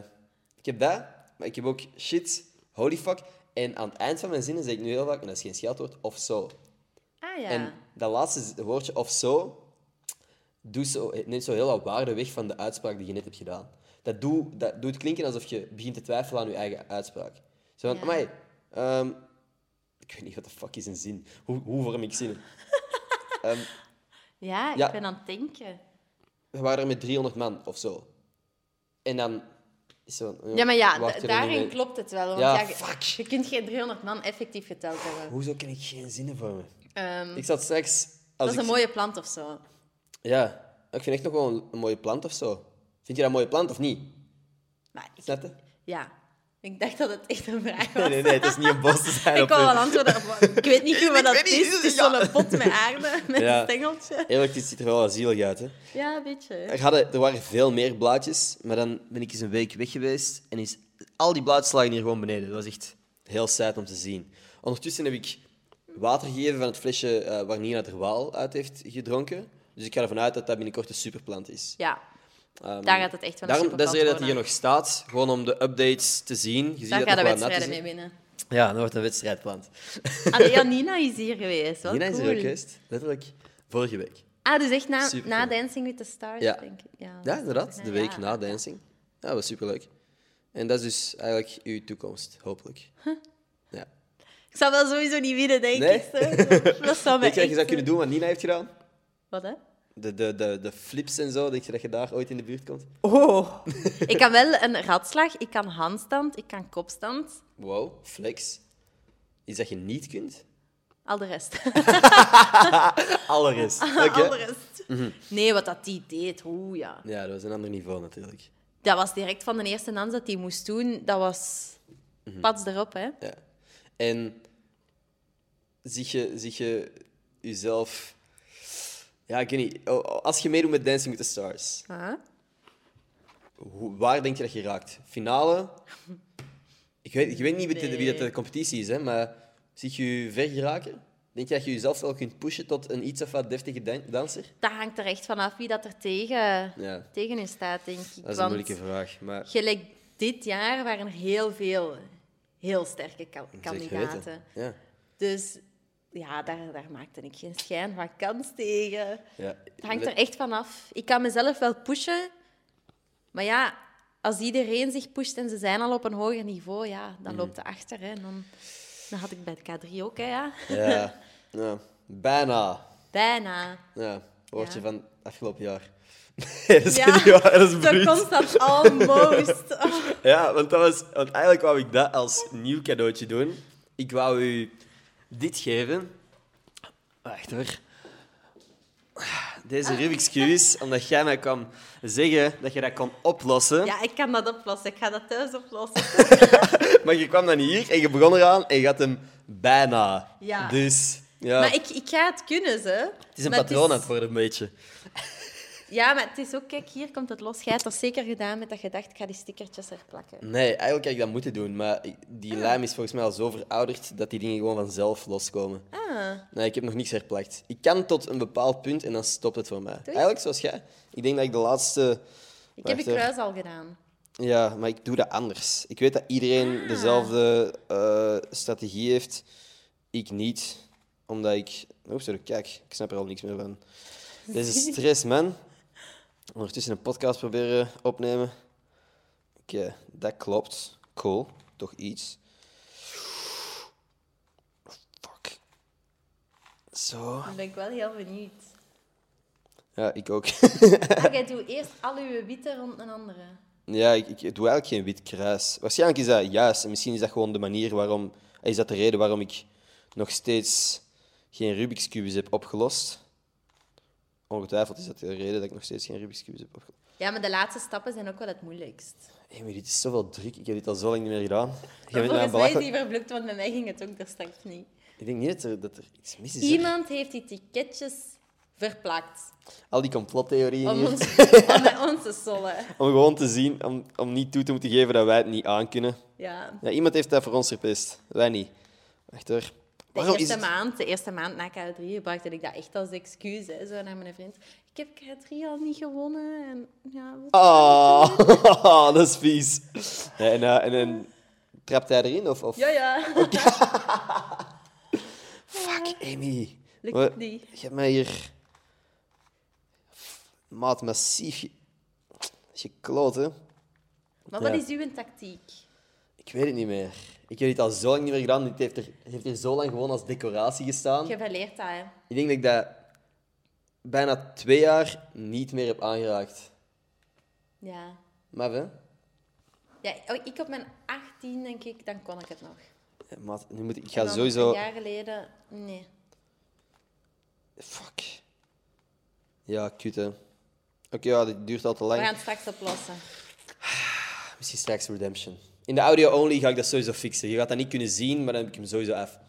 Speaker 1: Ik heb dat, maar ik heb ook shit, holy fuck. En aan het eind van mijn zinnen zeg ik nu heel vaak, en dat is geen scheldwoord, of zo.
Speaker 2: Ah ja.
Speaker 1: En dat laatste z- woordje, of zo, doet zo, neemt zo heel wat waarde weg van de uitspraak die je net hebt gedaan. Dat, doe, dat doet klinken alsof je begint te twijfelen aan je eigen uitspraak. Zo van,
Speaker 2: Ja.
Speaker 1: amai, ehm, ik weet niet wat de fuck is een zin. Hoe, hoe vorm ik zinnen?
Speaker 2: Ja, ik
Speaker 1: Ja.
Speaker 2: ben aan het denken.
Speaker 1: We waren er met 300 man, of zo. En dan is zo... van,
Speaker 2: Ja, maar ja,
Speaker 1: wacht er niet
Speaker 2: da-
Speaker 1: mee.
Speaker 2: daarin klopt het wel. Want
Speaker 1: Ja,
Speaker 2: ja, je-
Speaker 1: fuck.
Speaker 2: Je kunt geen 300 man effectief geteld hebben.
Speaker 1: Hoezo ken ik geen zinnen vormen?
Speaker 2: Ehm,
Speaker 1: Ik zat straks...
Speaker 2: dat
Speaker 1: Als
Speaker 2: is
Speaker 1: ik...
Speaker 2: een mooie plant of zo.
Speaker 1: Ja, ik vind echt nog wel een, een mooie plant of zo. Vind je dat een mooie plant of niet?
Speaker 2: Maar ik-
Speaker 1: Snap je?
Speaker 2: ja, ik dacht dat het echt een vraag
Speaker 1: Nee,
Speaker 2: was.
Speaker 1: nee, nee, het is niet een bos te zijn.
Speaker 2: Ik
Speaker 1: op
Speaker 2: wou
Speaker 1: een-
Speaker 2: wel antwoorden op. maar Ik weet niet goed wat
Speaker 1: Ik
Speaker 2: dat
Speaker 1: weet niet,
Speaker 2: is. Het is
Speaker 1: ja.
Speaker 2: zo'n pot met aarde, met
Speaker 1: Ja.
Speaker 2: een stengeltje.
Speaker 1: Eerlijk, dit ziet er wel zielig uit. Hè?
Speaker 2: Ja, een beetje.
Speaker 1: Er, hadden, er waren veel meer blaadjes, maar dan ben ik eens een week weg geweest en is, al die blaadjes lagen hier gewoon beneden. Dat was echt heel saai om te zien. Ondertussen heb ik water gegeven van het flesje eh, waar Nina de Waal uit heeft gedronken. Dus ik ga ervan uit dat dat binnenkort een superplant is.
Speaker 2: Ja,
Speaker 1: Ehm,
Speaker 2: daar gaat het echt wel een
Speaker 1: Daarom, dat is de
Speaker 2: superplant
Speaker 1: reden dat hij hier
Speaker 2: worden.
Speaker 1: nog staat, gewoon om de updates te zien. Je ziet
Speaker 2: Daar
Speaker 1: dat
Speaker 2: gaat de
Speaker 1: nog wat nat
Speaker 2: wedstrijden
Speaker 1: is,
Speaker 2: mee
Speaker 1: hè?
Speaker 2: winnen.
Speaker 1: Ja, dan wordt een wedstrijdplant.
Speaker 2: Allee, ja, Nina is hier geweest. Wat
Speaker 1: Nina is
Speaker 2: cool.
Speaker 1: er ook geweest, letterlijk vorige week.
Speaker 2: Ah, dus echt na,
Speaker 1: Supercool.
Speaker 2: na Dancing with the Stars,
Speaker 1: Ja.
Speaker 2: denk ik. Ja,
Speaker 1: Ja, inderdaad. De week
Speaker 2: Ja.
Speaker 1: na dancing. Ja, dat was superleuk. En dat is dus eigenlijk uw toekomst, hopelijk. Ja.
Speaker 2: Ik zou wel sowieso niet winnen, denk
Speaker 1: Nee?
Speaker 2: ik. Zo. Dat
Speaker 1: Denk je
Speaker 2: zou mij
Speaker 1: dat je
Speaker 2: echt- eh,
Speaker 1: zou kunnen doen wat Nina heeft gedaan?
Speaker 2: Wat, hè?
Speaker 1: De, de, de, de flips en zo, denk je dat je daar ooit in de buurt komt?
Speaker 2: Oh. ik kan wel een ratslag, ik kan handstand, ik kan kopstand.
Speaker 1: Wow, flex. Iets dat je niet kunt?
Speaker 2: Al de rest.
Speaker 1: Alleres.
Speaker 2: Al de rest. Mhm. Nee, wat dat die deed, hoe ja.
Speaker 1: Ja, dat was een ander niveau natuurlijk.
Speaker 2: Dat was direct van de eerste dans dat hij moest doen. Dat was
Speaker 1: Mhm.
Speaker 2: pats erop, hè.
Speaker 1: Ja. En zie je, zie je jezelf... Ja, ik weet niet. O- o- Als je meedoet met Dancing with the Stars,
Speaker 2: Ah.
Speaker 1: Hoe- waar denk je dat je raakt? Finale? Ik weet, ik weet niet wie, de- wie dat de
Speaker 2: Nee.
Speaker 1: competitie is, hè, maar zie je je ver geraken? Denk je dat je jezelf wel kunt pushen tot een iets of wat deftige dan- danser?
Speaker 2: Dat hangt er echt vanaf wie dat er tegen,
Speaker 1: Ja,
Speaker 2: tegen u staat, denk ik.
Speaker 1: dat is een
Speaker 2: Want
Speaker 1: moeilijke vraag. Maar
Speaker 2: gelijk dit jaar waren er heel veel heel sterke ka-
Speaker 1: Zeker
Speaker 2: kandidaten.
Speaker 1: weten. Ja.
Speaker 2: Dus ja, daar, daar maakte ik geen schijn van kans tegen.
Speaker 1: Ja.
Speaker 2: Het hangt er echt vanaf. Ik kan mezelf wel pushen, maar ja, als iedereen zich pusht en ze zijn al op een hoger niveau, ja,
Speaker 1: Mm.
Speaker 2: dan loopt de achter. Hè. En dan, dan had ik bij het K3 ook, hè, ja.
Speaker 1: Ja. ja. Bijna.
Speaker 2: Bijna.
Speaker 1: Ja. Woordje
Speaker 2: Ja.
Speaker 1: van afgelopen jaar. dat is
Speaker 2: Ja,
Speaker 1: niet waar, dat is
Speaker 2: Zo
Speaker 1: bruut.
Speaker 2: constant almost. Oh.
Speaker 1: Ja, want, dat was, want eigenlijk wou ik dat als nieuw cadeautje doen. Ik wou u dit geven. Wacht hoor. Deze Rubik's Cube is, omdat jij mij kwam zeggen dat je dat kon oplossen.
Speaker 2: Ja, ik kan dat oplossen. Ik ga dat thuis oplossen.
Speaker 1: Maar je kwam dan hier en je begon eraan en je had hem bijna.
Speaker 2: Ja.
Speaker 1: Dus ja,
Speaker 2: Maar ik, ik ga het kunnen, ze.
Speaker 1: het is een
Speaker 2: Maar
Speaker 1: patroon aan het worden, een beetje.
Speaker 2: Ja, maar het is ook... Kijk, hier komt het los. Jij hebt dat zeker gedaan met dat je dacht, ik ga die stickertjes er plakken.
Speaker 1: Nee, eigenlijk had ik dat moeten doen, maar ik- die lijm is volgens mij al zo verouderd dat die dingen gewoon vanzelf loskomen.
Speaker 2: Ah,
Speaker 1: Nee, ik heb nog niks herplakt. Ik kan tot een bepaald punt en dan stopt het voor mij. Eigenlijk zoals jij. Ik denk dat ik de laatste.
Speaker 2: ik heb
Speaker 1: Wacht,
Speaker 2: je
Speaker 1: hè.
Speaker 2: kruis al gedaan.
Speaker 1: Ja, maar ik doe dat anders. Ik weet dat iedereen dezelfde eh, strategie heeft. Ik niet. Omdat ik. Oeps, sorry, kijk, ik snap er al niks meer van. Deze stress, man. Ondertussen een podcast proberen opnemen. Oké, dat klopt. Cool. Toch iets. Fuck. Zo.
Speaker 2: Dan ben ik wel heel benieuwd.
Speaker 1: Ja, ik ook.
Speaker 2: Ah, jij doet eerst al uw witte rond een andere.
Speaker 1: Ja, ik, ik doe eigenlijk geen wit kruis. Waarschijnlijk is dat juist. En misschien is dat gewoon de manier waarom... Is dat de reden waarom ik nog steeds geen Rubik's Cubes heb opgelost? Ongetwijfeld is dat de reden dat ik nog steeds geen Rubik's Cubes heb opgelost.
Speaker 2: Ja, maar de laatste stappen zijn ook wel het moeilijkst.
Speaker 1: Hé, maar dit is zoveel druk. Ik heb dit al zo lang niet meer gedaan. Je bent mij
Speaker 2: Volgens mij is
Speaker 1: belachelijk...
Speaker 2: die verblukt, want bij mij ging het ook daar straks niet.
Speaker 1: Ik denk niet dat er, dat er iets mis is. hè.
Speaker 2: Iemand heeft die ticketjes verplakt
Speaker 1: Al die complottheorieën
Speaker 2: om
Speaker 1: hier.
Speaker 2: ons, om bij ons te sollen.
Speaker 1: Om gewoon te zien, om, om niet toe te moeten geven dat wij het niet aankunnen.
Speaker 2: Ja.
Speaker 1: Ja, iemand heeft dat voor ons verpest. Wij niet. Wacht hoor.
Speaker 2: De
Speaker 1: Waarom is
Speaker 2: eerste,
Speaker 1: het-
Speaker 2: maand, de eerste maand na K3 gebruikte ik dat echt als excuus. Hè, zo naar mijn vriend. Ik heb K3 al niet gewonnen. En, ja, wat-
Speaker 1: Oh, dat is vies. Nee, en, eh, en, en trapt hij erin? Of, of...
Speaker 2: Ja, ja.
Speaker 1: Fuck, Amy.
Speaker 2: Lukt
Speaker 1: Wat-
Speaker 2: het niet.
Speaker 1: Je hebt mij hier... Maat, massief. Je, je kloot, hè.
Speaker 2: Maar
Speaker 1: Ja.
Speaker 2: wat is uw tactiek?
Speaker 1: Ik weet het niet meer. Ik heb dit al zo lang niet meer gedaan. Dit heeft er, het heeft er zo lang gewoon als decoratie gestaan.
Speaker 2: Je verleert dat, hè.
Speaker 1: Ik denk dat ik dat bijna twee jaar niet meer heb aangeraakt.
Speaker 2: Ja.
Speaker 1: Maar hè?
Speaker 2: ja. oh, Ik op mijn 18, denk ik, dan kon ik het nog.
Speaker 1: Ja, Eh, Maat, nu moet ik, ik
Speaker 2: En
Speaker 1: ga
Speaker 2: dan
Speaker 1: sowieso...
Speaker 2: Een jaar geleden, nee.
Speaker 1: Fuck. Ja, kut hè. Oké, ja, dit duurt al te
Speaker 2: We
Speaker 1: lang.
Speaker 2: gaan het straks oplossen.
Speaker 1: Misschien straks Redemption. In de audio-only ga ik dat sowieso fixen. Je gaat dat niet kunnen zien, maar dan heb ik hem sowieso af.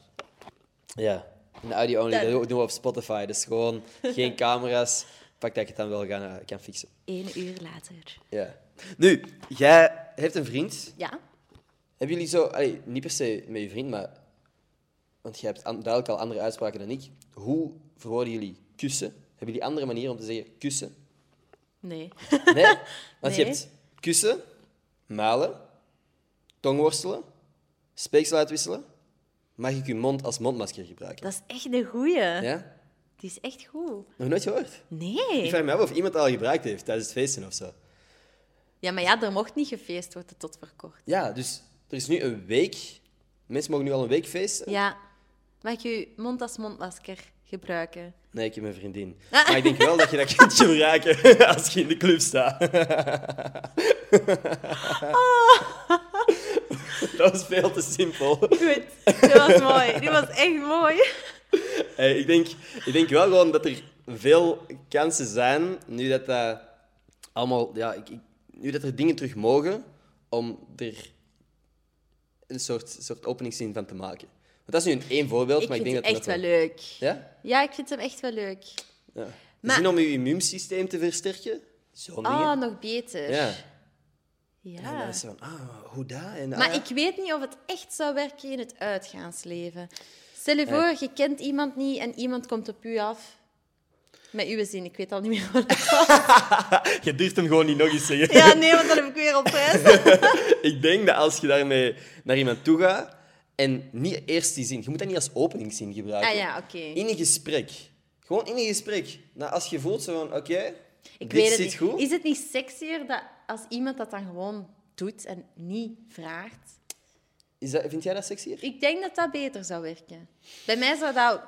Speaker 1: Ja, in de audio-only. Dat
Speaker 2: Dan-
Speaker 1: doen we op Spotify. Dus gewoon geen camera's. Pak dat ik het dan wel gaan, eh, kan fixen.
Speaker 2: Eén uur later.
Speaker 1: Ja. Nu, jij hebt een vriend.
Speaker 2: Ja?
Speaker 1: Hebben jullie zo... allee, niet per se met je vriend, maar... Want jij hebt an- duidelijk al andere uitspraken dan ik. Hoe verwoorden jullie kussen? Hebben jullie andere manieren om te zeggen kussen?
Speaker 2: Nee.
Speaker 1: Nee, want je
Speaker 2: Nee.
Speaker 1: hebt kussen, muilen, tongworstelen, speeksel uitwisselen. Mag ik je mond als mondmasker gebruiken?
Speaker 2: Dat is echt de goeie.
Speaker 1: Ja?
Speaker 2: Die is echt goed.
Speaker 1: Nog nooit gehoord? Ik
Speaker 2: Nee.
Speaker 1: vraag me af of iemand dat al gebruikt heeft tijdens het feesten of zo.
Speaker 2: Ja, maar ja, er mocht niet gefeest worden tot verkort.
Speaker 1: Ja, dus er is nu een week. Mensen mogen nu al een week feesten.
Speaker 2: Ja. Mag ik je mond als mondmasker gebruiken?
Speaker 1: Nee, ik heb een vriendin. Maar ik denk wel dat je dat kunt gebruiken als je in de club staat. Dat was veel te simpel.
Speaker 2: Goed. Die was mooi. Die was echt mooi.
Speaker 1: Hey, Eh, ik, denk, ik denk wel gewoon dat er veel kansen zijn, nu dat dat allemaal, ja, ik, ik- nu dat er dingen terug mogen, om er een soort, soort openingszin van te maken. Want dat is nu een één voorbeeld,
Speaker 2: Ik
Speaker 1: maar ik
Speaker 2: vind
Speaker 1: denk
Speaker 2: hem
Speaker 1: dat
Speaker 2: echt
Speaker 1: dat
Speaker 2: wel leuk.
Speaker 1: Ja?
Speaker 2: Ja, ik vind hem echt wel leuk.
Speaker 1: ja.
Speaker 2: Maar-
Speaker 1: Zin om je immuunsysteem te versterken? Zo'n
Speaker 2: Oh,
Speaker 1: dingen.
Speaker 2: nog beter.
Speaker 1: Ja. En dan
Speaker 2: Ja.
Speaker 1: is ze van, ah, hoe dat? En, ah,
Speaker 2: Maar
Speaker 1: ja.
Speaker 2: ik weet niet of het echt zou werken in het uitgaansleven. Stel
Speaker 1: Eh.
Speaker 2: je voor, je kent iemand niet en iemand komt op u af. Met uw zin, ik weet al niet meer wat het was.
Speaker 1: Je durft hem gewoon niet nog eens zeggen.
Speaker 2: Ja, nee, want dan heb ik weer op prijs.
Speaker 1: Ik denk dat als je daarmee naar iemand toe gaat en niet eerst die zin, je moet dat niet als openingszin gebruiken.
Speaker 2: Ah ja, oké.
Speaker 1: In een gesprek. Gewoon in een gesprek. Nou, als je voelt zo van, oké,
Speaker 2: Ik
Speaker 1: dit
Speaker 2: weet het
Speaker 1: zit
Speaker 2: niet.
Speaker 1: goed.
Speaker 2: Is het niet sexier dat als iemand dat dan gewoon doet en niet vraagt?
Speaker 1: Is dat, vind jij dat sexier?
Speaker 2: Ik denk dat dat beter zou werken. Bij mij zou dat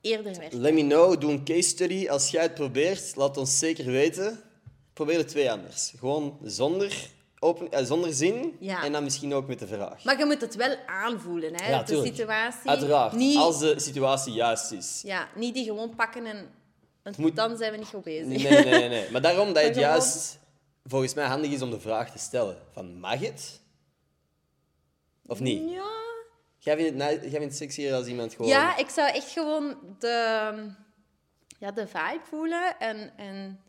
Speaker 2: eerder werken.
Speaker 1: Let me know, doe een case study. Als jij het probeert, laat ons zeker weten. Probeer het twee anders. Gewoon zonder, open, eh, zonder zin
Speaker 2: Ja.
Speaker 1: en dan misschien ook met de vraag.
Speaker 2: Maar je moet het wel aanvoelen, hè? de
Speaker 1: tuurlijk.
Speaker 2: situatie.
Speaker 1: Uiteraard,
Speaker 2: Niet,
Speaker 1: als de situatie juist is.
Speaker 2: ja, niet die gewoon pakken en... want
Speaker 1: moet-
Speaker 2: Dan zijn we niet goed bezig.
Speaker 1: Nee, nee, nee, nee, nee. Maar daarom dat het
Speaker 2: Maar gewoon-
Speaker 1: juist volgens mij handig is om de vraag te stellen: van mag het? Of niet?
Speaker 2: Ja.
Speaker 1: Jij vindt het, na- jij vindt het sexier als iemand gewoon.
Speaker 2: ja, ik zou echt gewoon de, ja, de vibe voelen. En, en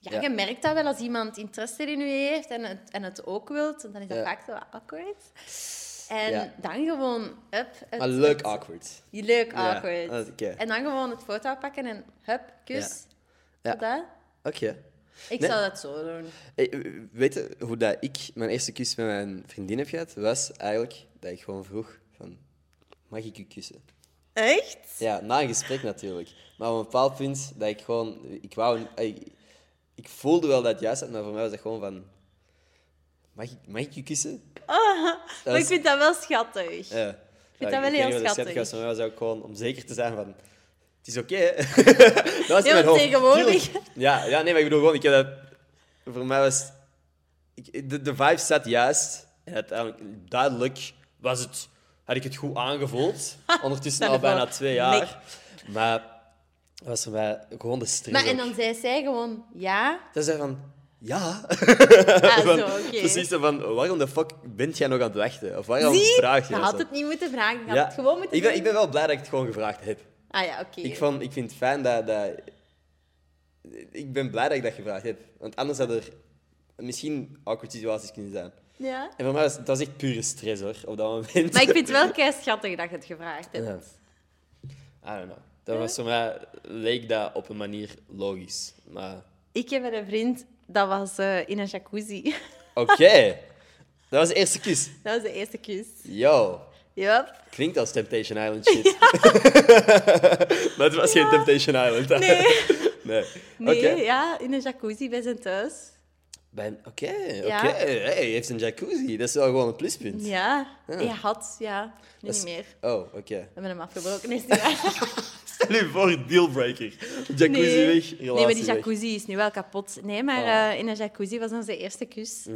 Speaker 2: ja,
Speaker 1: Ja.
Speaker 2: je merkt dat wel als iemand interesse in u heeft en het, en het ook wilt. Dan is dat
Speaker 1: Ja.
Speaker 2: vaak zo wat awkward. En
Speaker 1: Ja.
Speaker 2: dan gewoon, up. Het,
Speaker 1: Maar Ah, leuk
Speaker 2: het-
Speaker 1: awkward.
Speaker 2: leuk
Speaker 1: Ja,
Speaker 2: awkward.
Speaker 1: dat- oké.
Speaker 2: En dan gewoon het foto pakken en hup, kus.
Speaker 1: Ja.
Speaker 2: Zo dat.
Speaker 1: Oké.
Speaker 2: Ik
Speaker 1: Nee.
Speaker 2: zou dat zo doen.
Speaker 1: Hey, eh, weet je hoe dat ik mijn eerste kus met mijn vriendin heb gehad? Was eigenlijk dat ik gewoon vroeg: van, mag ik u kussen?
Speaker 2: Echt?
Speaker 1: Ja, na een gesprek natuurlijk. Maar op een bepaald punt dat ik gewoon. Ik, wou, ik, ik voelde wel dat het juist had, maar voor mij was dat gewoon van. Mag ik, mag ik je kussen?
Speaker 2: Maar ik vind dat wel schattig.
Speaker 1: Ja. Ja,
Speaker 2: dat wel
Speaker 1: nou, weet
Speaker 2: heel
Speaker 1: niet wat dat
Speaker 2: schattig.
Speaker 1: was, voor mij was dat ook gewoon om zeker te zijn van. Het is oké, hè? dat was in
Speaker 2: Ja,
Speaker 1: mijn
Speaker 2: want
Speaker 1: hoofd.
Speaker 2: tegenwoordig-
Speaker 1: Tuurlijk. Ja, ja, nee, maar ik bedoel gewoon, ik heb dat... Voor mij was... Ik, de, de vibe zat juist. En uiteindelijk, duidelijk was het... Had ik het goed aangevoeld. Ondertussen
Speaker 2: Stel
Speaker 1: al
Speaker 2: je voor.
Speaker 1: bijna twee jaar. Maar dat was voor mij gewoon de stress
Speaker 2: Maar en
Speaker 1: ook.
Speaker 2: dan zei zij gewoon ja.
Speaker 1: Dat is van... Ja,
Speaker 2: Ah, zo,
Speaker 1: Van-
Speaker 2: oké.
Speaker 1: precies. zo Van, waarom de fuck bent jij nog aan het wachten? Of waarom
Speaker 2: Zie?
Speaker 1: vraag je
Speaker 2: Je
Speaker 1: dat
Speaker 2: had
Speaker 1: zo?
Speaker 2: het niet moeten vragen. Je had
Speaker 1: Ja.
Speaker 2: het gewoon moeten
Speaker 1: ik, ben,
Speaker 2: doen.
Speaker 1: ik ben wel blij dat ik het gewoon gevraagd heb.
Speaker 2: Ah ja, oké.
Speaker 1: Ik, vond, ik vind het fijn dat, dat... Ik ben blij dat ik dat gevraagd heb. Want anders had er misschien awkward situaties kunnen zijn.
Speaker 2: Ja.
Speaker 1: En voor mij was dat was echt pure stress, hoor, op dat moment.
Speaker 2: Maar ik vind het wel kei schattig dat je het gevraagd hebt.
Speaker 1: Ja. I don't know. Dat was voor mij... Leek dat op een manier logisch. Maar...
Speaker 2: Ik heb met een vriend, dat was eh, in een jacuzzi.
Speaker 1: Oké. dat was de eerste kus.
Speaker 2: dat was de eerste kus.
Speaker 1: Yo.
Speaker 2: Yup.
Speaker 1: Klinkt als Temptation Island shit. maar het was geen Temptation Island. hè?
Speaker 2: Nee.
Speaker 1: nee.
Speaker 2: Nee,
Speaker 1: Oké.
Speaker 2: ja, in een jacuzzi bij zijn thuis.
Speaker 1: Ben- Oké, oké.
Speaker 2: Ja.
Speaker 1: Hey, hij heeft een jacuzzi. Dat is wel gewoon een pluspunt.
Speaker 2: Ja, hij had, ja, nu niet meer. We
Speaker 1: Oh, oké.
Speaker 2: hebben hem afgebroken, nee, is niet waar.
Speaker 1: Stel je voor, dealbreaker. Jacuzzi
Speaker 2: Nee.
Speaker 1: weg, relatie
Speaker 2: nee, maar die
Speaker 1: weg.
Speaker 2: jacuzzi is nu wel kapot. Nee, maar
Speaker 1: Oh.
Speaker 2: eh, in een jacuzzi was onze eerste kus.
Speaker 1: Dat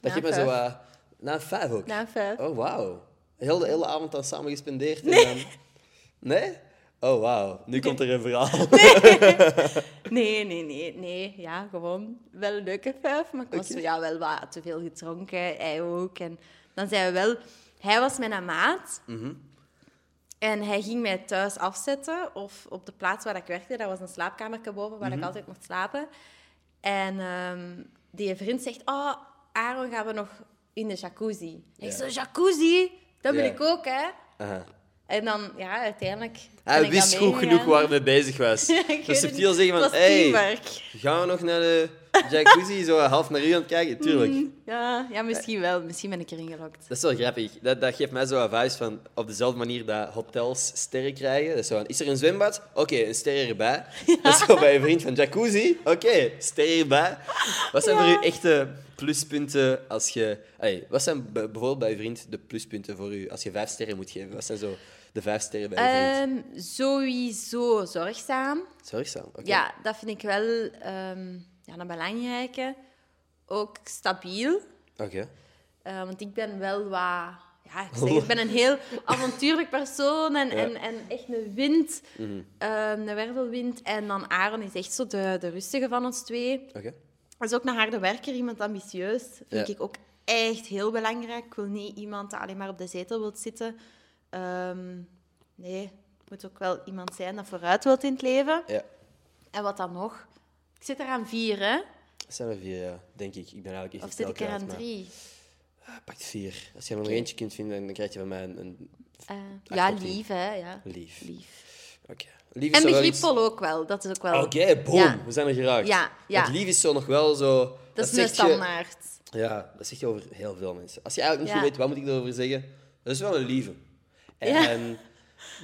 Speaker 2: Na
Speaker 1: geeft me zo...
Speaker 2: vijf.
Speaker 1: eh na vijf ook?
Speaker 2: Na vijf.
Speaker 1: Oh, wauw. Heel de hele avond dan samen gespendeerd? en dan- Nee? Oh, wauw. Nu komt er een verhaal.
Speaker 2: Nee, nee, nee, nee. Ja, gewoon wel een leuke vijf, maar ik was zo, ja, wel wat te veel gedronken, hij ook. En dan zijn we wel... Hij was mijn maat.
Speaker 1: Mhm.
Speaker 2: En hij ging mij thuis afzetten, of op de plaats waar ik werkte. Dat was een slaapkamertje boven, waar
Speaker 1: Mhm.
Speaker 2: ik altijd mocht slapen. En ehm, die vriend zegt, oh, Aaron, gaan we nog in de jacuzzi?
Speaker 1: Ja.
Speaker 2: Ik zo, jacuzzi? Dat wil
Speaker 1: Ja.
Speaker 2: ik ook, hè?
Speaker 1: Aha.
Speaker 2: En dan, ja, uiteindelijk... ben ik
Speaker 1: Hij
Speaker 2: dan
Speaker 1: wist Ah, goed
Speaker 2: meegegaan.
Speaker 1: genoeg waar hij mee bezig was.
Speaker 2: Ja, ik weet
Speaker 1: dat
Speaker 2: het
Speaker 1: subtiel
Speaker 2: niet.
Speaker 1: zeggen van,
Speaker 2: Het was
Speaker 1: hey,
Speaker 2: teamwork."
Speaker 1: gaan we nog naar de jacuzzi? zo eh, half naar u aan het kijken?
Speaker 2: Mm.
Speaker 1: Tuurlijk.
Speaker 2: Ja, ja, misschien wel. Misschien ben ik erin gelokt.
Speaker 1: Dat is wel grappig. Dat, dat geeft mij zo advies van op dezelfde manier dat hotels sterren krijgen. Dat is, zo van, is er een zwembad? Oké, een ster erbij. Dat is zo bij een vriend van jacuzzi. Oké, ster erbij. Wat zijn voor u echte pluspunten als je. Allee, wat zijn b- bijvoorbeeld bij je vriend de pluspunten voor u als je vijf sterren moet geven? Wat zijn zo de vijf sterren bij je vriend?
Speaker 2: Ehm, sowieso zorgzaam.
Speaker 1: Zorgzaam. Oké.
Speaker 2: Eh, Ja, dat vind ik wel ehm, ja, een belangrijke. Ook stabiel.
Speaker 1: Oké.
Speaker 2: Eh, want ik ben wel wat... Ja, ik, zeg, het, ik ben een heel avontuurlijk persoon en, en, en echt een wind.
Speaker 1: Mhm.
Speaker 2: ehm, een wervelwind. En dan Aaron is echt zo de, de rustige van ons twee.
Speaker 1: Oké.
Speaker 2: Dat is ook een harde werker, iemand ambitieus. Vind
Speaker 1: Ja.
Speaker 2: ik ook echt heel belangrijk. Ik wil niet iemand dat alleen maar op de zetel wilt zitten. Ehm, nee, het moet ook wel iemand zijn dat vooruit wilt in het leven.
Speaker 1: Ja.
Speaker 2: En wat dan nog? Ik zit eraan vier, hè?
Speaker 1: Dat zijn er vier, ja, denk ik. Ik ben eigenlijk echt
Speaker 2: Of
Speaker 1: een
Speaker 2: zit ik er
Speaker 1: telkeraad,
Speaker 2: aan
Speaker 1: maar-
Speaker 2: drie?
Speaker 1: Ah, pak vier. Als je er nog
Speaker 2: Oké.
Speaker 1: eentje kunt vinden, dan krijg je van mij een, een
Speaker 2: Eh,
Speaker 1: Acht
Speaker 2: ja,
Speaker 1: op tien.
Speaker 2: lief, hè. Ja.
Speaker 1: lief.
Speaker 2: lief.
Speaker 1: Oké. Lief
Speaker 2: En
Speaker 1: zo wel iets-
Speaker 2: begripvol ook wel. Dat is ook wel...
Speaker 1: Oké, boom.
Speaker 2: Ja.
Speaker 1: We zijn er geraakt.
Speaker 2: Ja, ja.
Speaker 1: Want lief is zo nog wel zo...
Speaker 2: Dat is een
Speaker 1: zegt je,
Speaker 2: standaard.
Speaker 1: Ja, dat zeg je over heel veel mensen. Als je eigenlijk niet
Speaker 2: Ja.
Speaker 1: goed weet, wat moet ik daarover zeggen? Dat is wel een lieve. En
Speaker 2: Ja.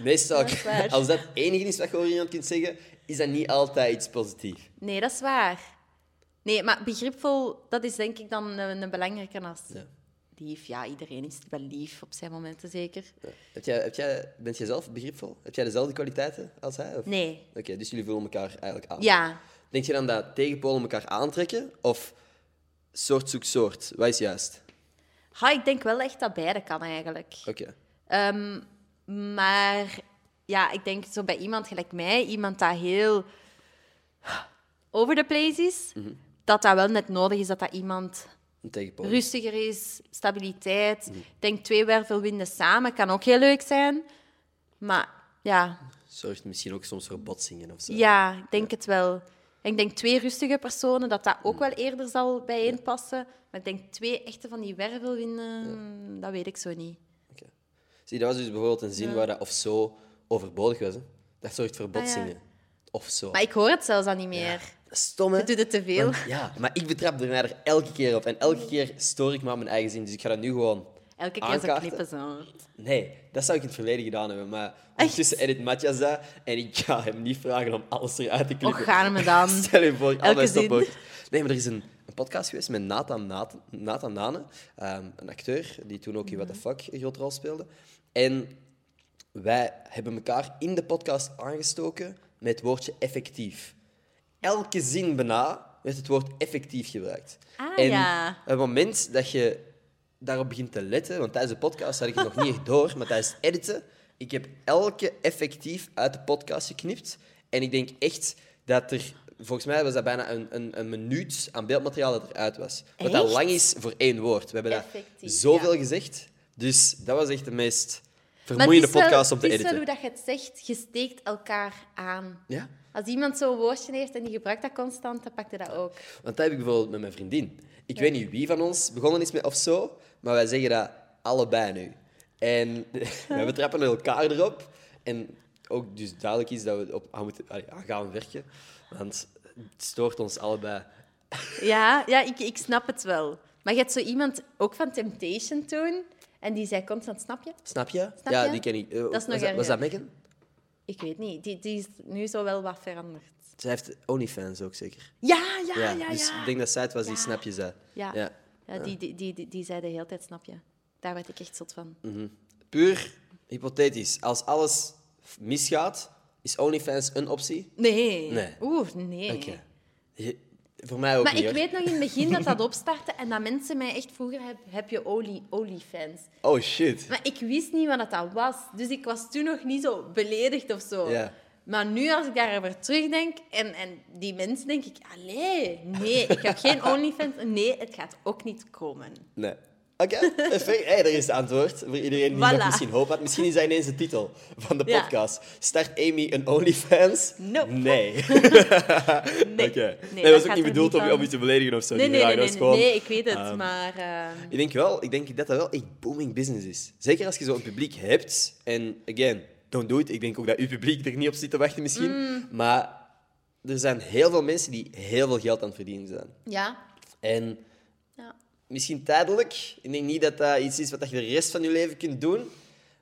Speaker 1: meestal,
Speaker 2: Dat is waar.
Speaker 1: als dat het enige is wat je over iemand kunt zeggen, is dat niet altijd iets positiefs.
Speaker 2: Nee, dat is waar. Nee, maar begripvol, dat is denk ik dan een, een belangrijke als
Speaker 1: Ja.
Speaker 2: lief. Ja, iedereen is wel lief op zijn momenten, zeker.
Speaker 1: Ja. Heb jij, heb jij, bent jij zelf begripvol? Heb jij dezelfde kwaliteiten als hij? of-
Speaker 2: Nee.
Speaker 1: Oké, dus jullie vullen elkaar eigenlijk aan.
Speaker 2: Ja.
Speaker 1: Denk je dan dat tegenpolen elkaar aantrekken? Of soort zoekt soort? Wat is juist?
Speaker 2: Ha, ik denk wel echt dat beide kan, eigenlijk.
Speaker 1: Oké.
Speaker 2: Ehm, maar ja, ik denk zo bij iemand gelijk mij, iemand dat heel over the place is,
Speaker 1: Mhm.
Speaker 2: dat dat wel net nodig is dat dat iemand
Speaker 1: Een tegenpolen.
Speaker 2: rustiger is, stabiliteit.
Speaker 1: Mhm.
Speaker 2: Ik denk twee wervelwinden samen kan ook heel leuk zijn. Maar ja,
Speaker 1: zorgt misschien ook soms voor botsingen of zo.
Speaker 2: ja ik denk het wel. En Ik denk twee rustige personen, dat dat ook wel eerder zal bijeenpassen. Maar ik denk twee echte van die wervelwinden, dat weet ik zo niet.
Speaker 1: Oké. Zie, dat was dus bijvoorbeeld een zin waar dat of zo overbodig was. Hè? Dat zorgt voor botsingen. Of zo.
Speaker 2: Ah,
Speaker 1: Ah,
Speaker 2: Maar ik hoor het zelfs al niet meer.
Speaker 1: Stom, hè?
Speaker 2: Je doet het te veel.
Speaker 1: Want- ja, maar ik betrap er mij er elke keer op. En elke keer stoor ik me aan mijn eigen zin. Dus ik ga dat nu gewoon
Speaker 2: Elke keer zo
Speaker 1: aankaarten.
Speaker 2: knippen zo.
Speaker 1: Nee, dat zou ik in het verleden gedaan hebben. Maar ondertussen edit Matthias dat. En ik ga hem niet vragen om alles eruit te
Speaker 2: Och,
Speaker 1: klikken.
Speaker 2: gaarme dan.
Speaker 1: Stel je voor, al
Speaker 2: Elke
Speaker 1: mijn
Speaker 2: zin.
Speaker 1: stopwoord. Nee, maar er is een, een podcast geweest met Nathan, Nathan, Nathan Nane, ehm, een acteur die toen ook in What the Fuck een grote rol speelde. En wij hebben elkaar in de podcast aangestoken met het woordje effectief. Elke zin bijna werd het woord effectief gebruikt.
Speaker 2: Ah,
Speaker 1: en
Speaker 2: ja.
Speaker 1: het moment dat je daarop begint te letten, want tijdens de podcast had ik het nog niet echt door, maar tijdens het editen, ik heb elke effectief uit de podcast geknipt. En ik denk echt dat er, volgens mij was dat bijna een, een, een minuut aan beeldmateriaal dat eruit was. Wat dat
Speaker 2: Echt?
Speaker 1: lang is voor één woord. We hebben dat
Speaker 2: Effectief,
Speaker 1: zoveel
Speaker 2: ja.
Speaker 1: gezegd, dus dat was echt de meest
Speaker 2: Maar het
Speaker 1: vermoeiende
Speaker 2: is wel-
Speaker 1: podcast om te
Speaker 2: Het is wel
Speaker 1: editen.
Speaker 2: hoe dat je het zegt, je steekt elkaar aan.
Speaker 1: Ja?
Speaker 2: Als iemand zo'n woordje heeft en die gebruikt dat constant, dan pakt hij dat ook.
Speaker 1: Want dat heb ik bijvoorbeeld met mijn vriendin. Ik weet niet wie van ons begonnen is met of zo, maar wij zeggen dat allebei nu. En we betrappen elkaar erop. En ook dus duidelijk is dat we op aan, moeten, allee, aan gaan werken, want het stoort ons allebei.
Speaker 2: Ja, ja ik, ik snap het wel. Maar je hebt zo iemand ook van Temptation toen, en die zei constant, snap je?
Speaker 1: Snap je?
Speaker 2: Snap
Speaker 1: ja,
Speaker 2: je?
Speaker 1: die ken ik. Eh,
Speaker 2: Dat is nog
Speaker 1: was, dat, was dat
Speaker 2: erger.
Speaker 1: Megan?
Speaker 2: Ik weet niet, die, die is nu zo wel wat veranderd.
Speaker 1: Zij heeft OnlyFans ook zeker.
Speaker 2: Ja, ja, Ah, ja, ja.
Speaker 1: Dus ik denk dat zij het was die
Speaker 2: Ja.
Speaker 1: Snap je zei.
Speaker 2: Ja.
Speaker 1: Ja.
Speaker 2: Ja, die, die, die, die, die zei de hele tijd, snap je? Daar werd ik echt zot van.
Speaker 1: Mm. Puur hypothetisch. Als alles misgaat, is OnlyFans een optie?
Speaker 2: Nee.
Speaker 1: Nee.
Speaker 2: Oeh, nee.
Speaker 1: Oké. Je- Voor mij ook
Speaker 2: Maar
Speaker 1: niet.
Speaker 2: ik
Speaker 1: hoor.
Speaker 2: weet nog in het begin dat dat opstartte en dat mensen mij echt vroegen, heb, heb je olie, oliefans?
Speaker 1: Oh shit.
Speaker 2: Maar ik wist niet wat dat was, dus ik was toen nog niet zo beledigd of zo.
Speaker 1: Ja.
Speaker 2: Maar nu als ik daarover terugdenk en, en die mensen, denk ik, allee, nee, ik heb geen OnlyFans. Nee, het gaat ook niet komen.
Speaker 1: Nee. Oké, perfect. Hey, daar is het antwoord. Voor iedereen die nog
Speaker 2: Voilà.
Speaker 1: misschien hoop had. Misschien is dat ineens de titel van de
Speaker 2: Ja.
Speaker 1: podcast. Start Amy een OnlyFans?
Speaker 2: Nope.
Speaker 1: Nee.
Speaker 2: Nee,
Speaker 1: Oké.
Speaker 2: nee,
Speaker 1: dat was ook
Speaker 2: gaat
Speaker 1: niet
Speaker 2: er
Speaker 1: bedoeld om,
Speaker 2: van.
Speaker 1: je- om je te beledigen of zo.
Speaker 2: Nee,
Speaker 1: die
Speaker 2: nee,
Speaker 1: vraag.
Speaker 2: nee,
Speaker 1: Dat
Speaker 2: nee,
Speaker 1: is
Speaker 2: nee,
Speaker 1: gewoon-
Speaker 2: nee, ik weet het,
Speaker 1: ehm,
Speaker 2: maar... ehm,
Speaker 1: Ik denk wel, ik denk dat dat wel echt booming business is. Zeker als je zo'n publiek hebt. En again, don't do it. Ik denk ook dat uw publiek er niet op zit te wachten misschien.
Speaker 2: Mm.
Speaker 1: Maar er zijn heel veel mensen die heel veel geld aan het verdienen zijn.
Speaker 2: ja,
Speaker 1: En
Speaker 2: ja.
Speaker 1: misschien tijdelijk. Ik denk niet dat dat iets is wat je de rest van je leven kunt doen.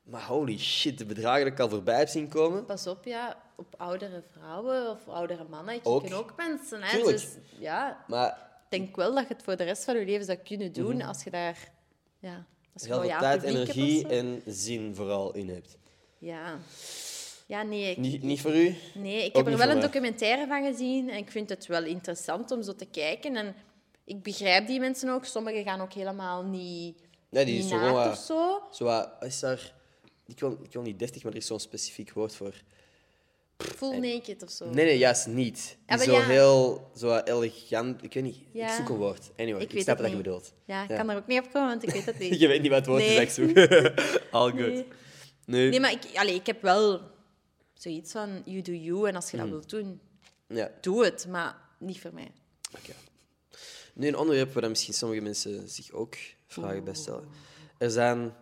Speaker 1: Maar holy shit, de bedragen die ik al voorbij heb zien komen.
Speaker 2: Pas op, ja, op oudere vrouwen of oudere mannen, je
Speaker 1: Ook.
Speaker 2: ken ook mensen, hè.
Speaker 1: Tuurlijk.
Speaker 2: Dus ja,
Speaker 1: Maar
Speaker 2: Ik denk wel dat je het voor de rest van je leven zou kunnen doen als je daar Oh ja, als
Speaker 1: Mhm.
Speaker 2: je
Speaker 1: heel
Speaker 2: wel
Speaker 1: veel
Speaker 2: jouw
Speaker 1: tijd,
Speaker 2: publiek hebt of
Speaker 1: energie
Speaker 2: zo.
Speaker 1: en zin vooral in hebt.
Speaker 2: Ja. Ja, nee. Ik,
Speaker 1: Niet, niet voor u?
Speaker 2: nee, ik
Speaker 1: ook
Speaker 2: heb er
Speaker 1: niet
Speaker 2: wel
Speaker 1: voor
Speaker 2: een
Speaker 1: mij.
Speaker 2: documentaire van gezien en ik vind het wel interessant om zo te kijken. En ik begrijp die mensen ook. Sommigen gaan ook helemaal niet,
Speaker 1: Nee, die
Speaker 2: niet
Speaker 1: is zo
Speaker 2: naakt
Speaker 1: gewoon, eh,
Speaker 2: of zo.
Speaker 1: Zo, wat is daar... Ik wil, ik wil niet deftig, maar er is zo'n specifiek woord voor.
Speaker 2: Full naked of zo.
Speaker 1: Nee, nee, juist niet. Die
Speaker 2: Ja, maar
Speaker 1: zo
Speaker 2: ja.
Speaker 1: heel zo wat elegant... Ik weet niet. Ik
Speaker 2: Ja.
Speaker 1: zoek een woord. Anyway,
Speaker 2: Ik
Speaker 1: ik,
Speaker 2: weet
Speaker 1: snap
Speaker 2: het
Speaker 1: wat je
Speaker 2: niet.
Speaker 1: bedoelt.
Speaker 2: Ja, ik
Speaker 1: Ja.
Speaker 2: kan er ook niet op komen, want ik weet het niet.
Speaker 1: Je weet niet wat het woord
Speaker 2: Nee.
Speaker 1: is, dat ik zoek. All good.
Speaker 2: Nee.
Speaker 1: Nee.
Speaker 2: Nee, maar ik, allee, ik heb wel zoiets van
Speaker 1: Hmm.
Speaker 2: you do you. En als je dat wilt doen,
Speaker 1: Ja,
Speaker 2: doe het. Maar niet voor mij.
Speaker 1: oké. Nu een onderwerp waar misschien sommige mensen zich ook vragen bij stellen. Er zijn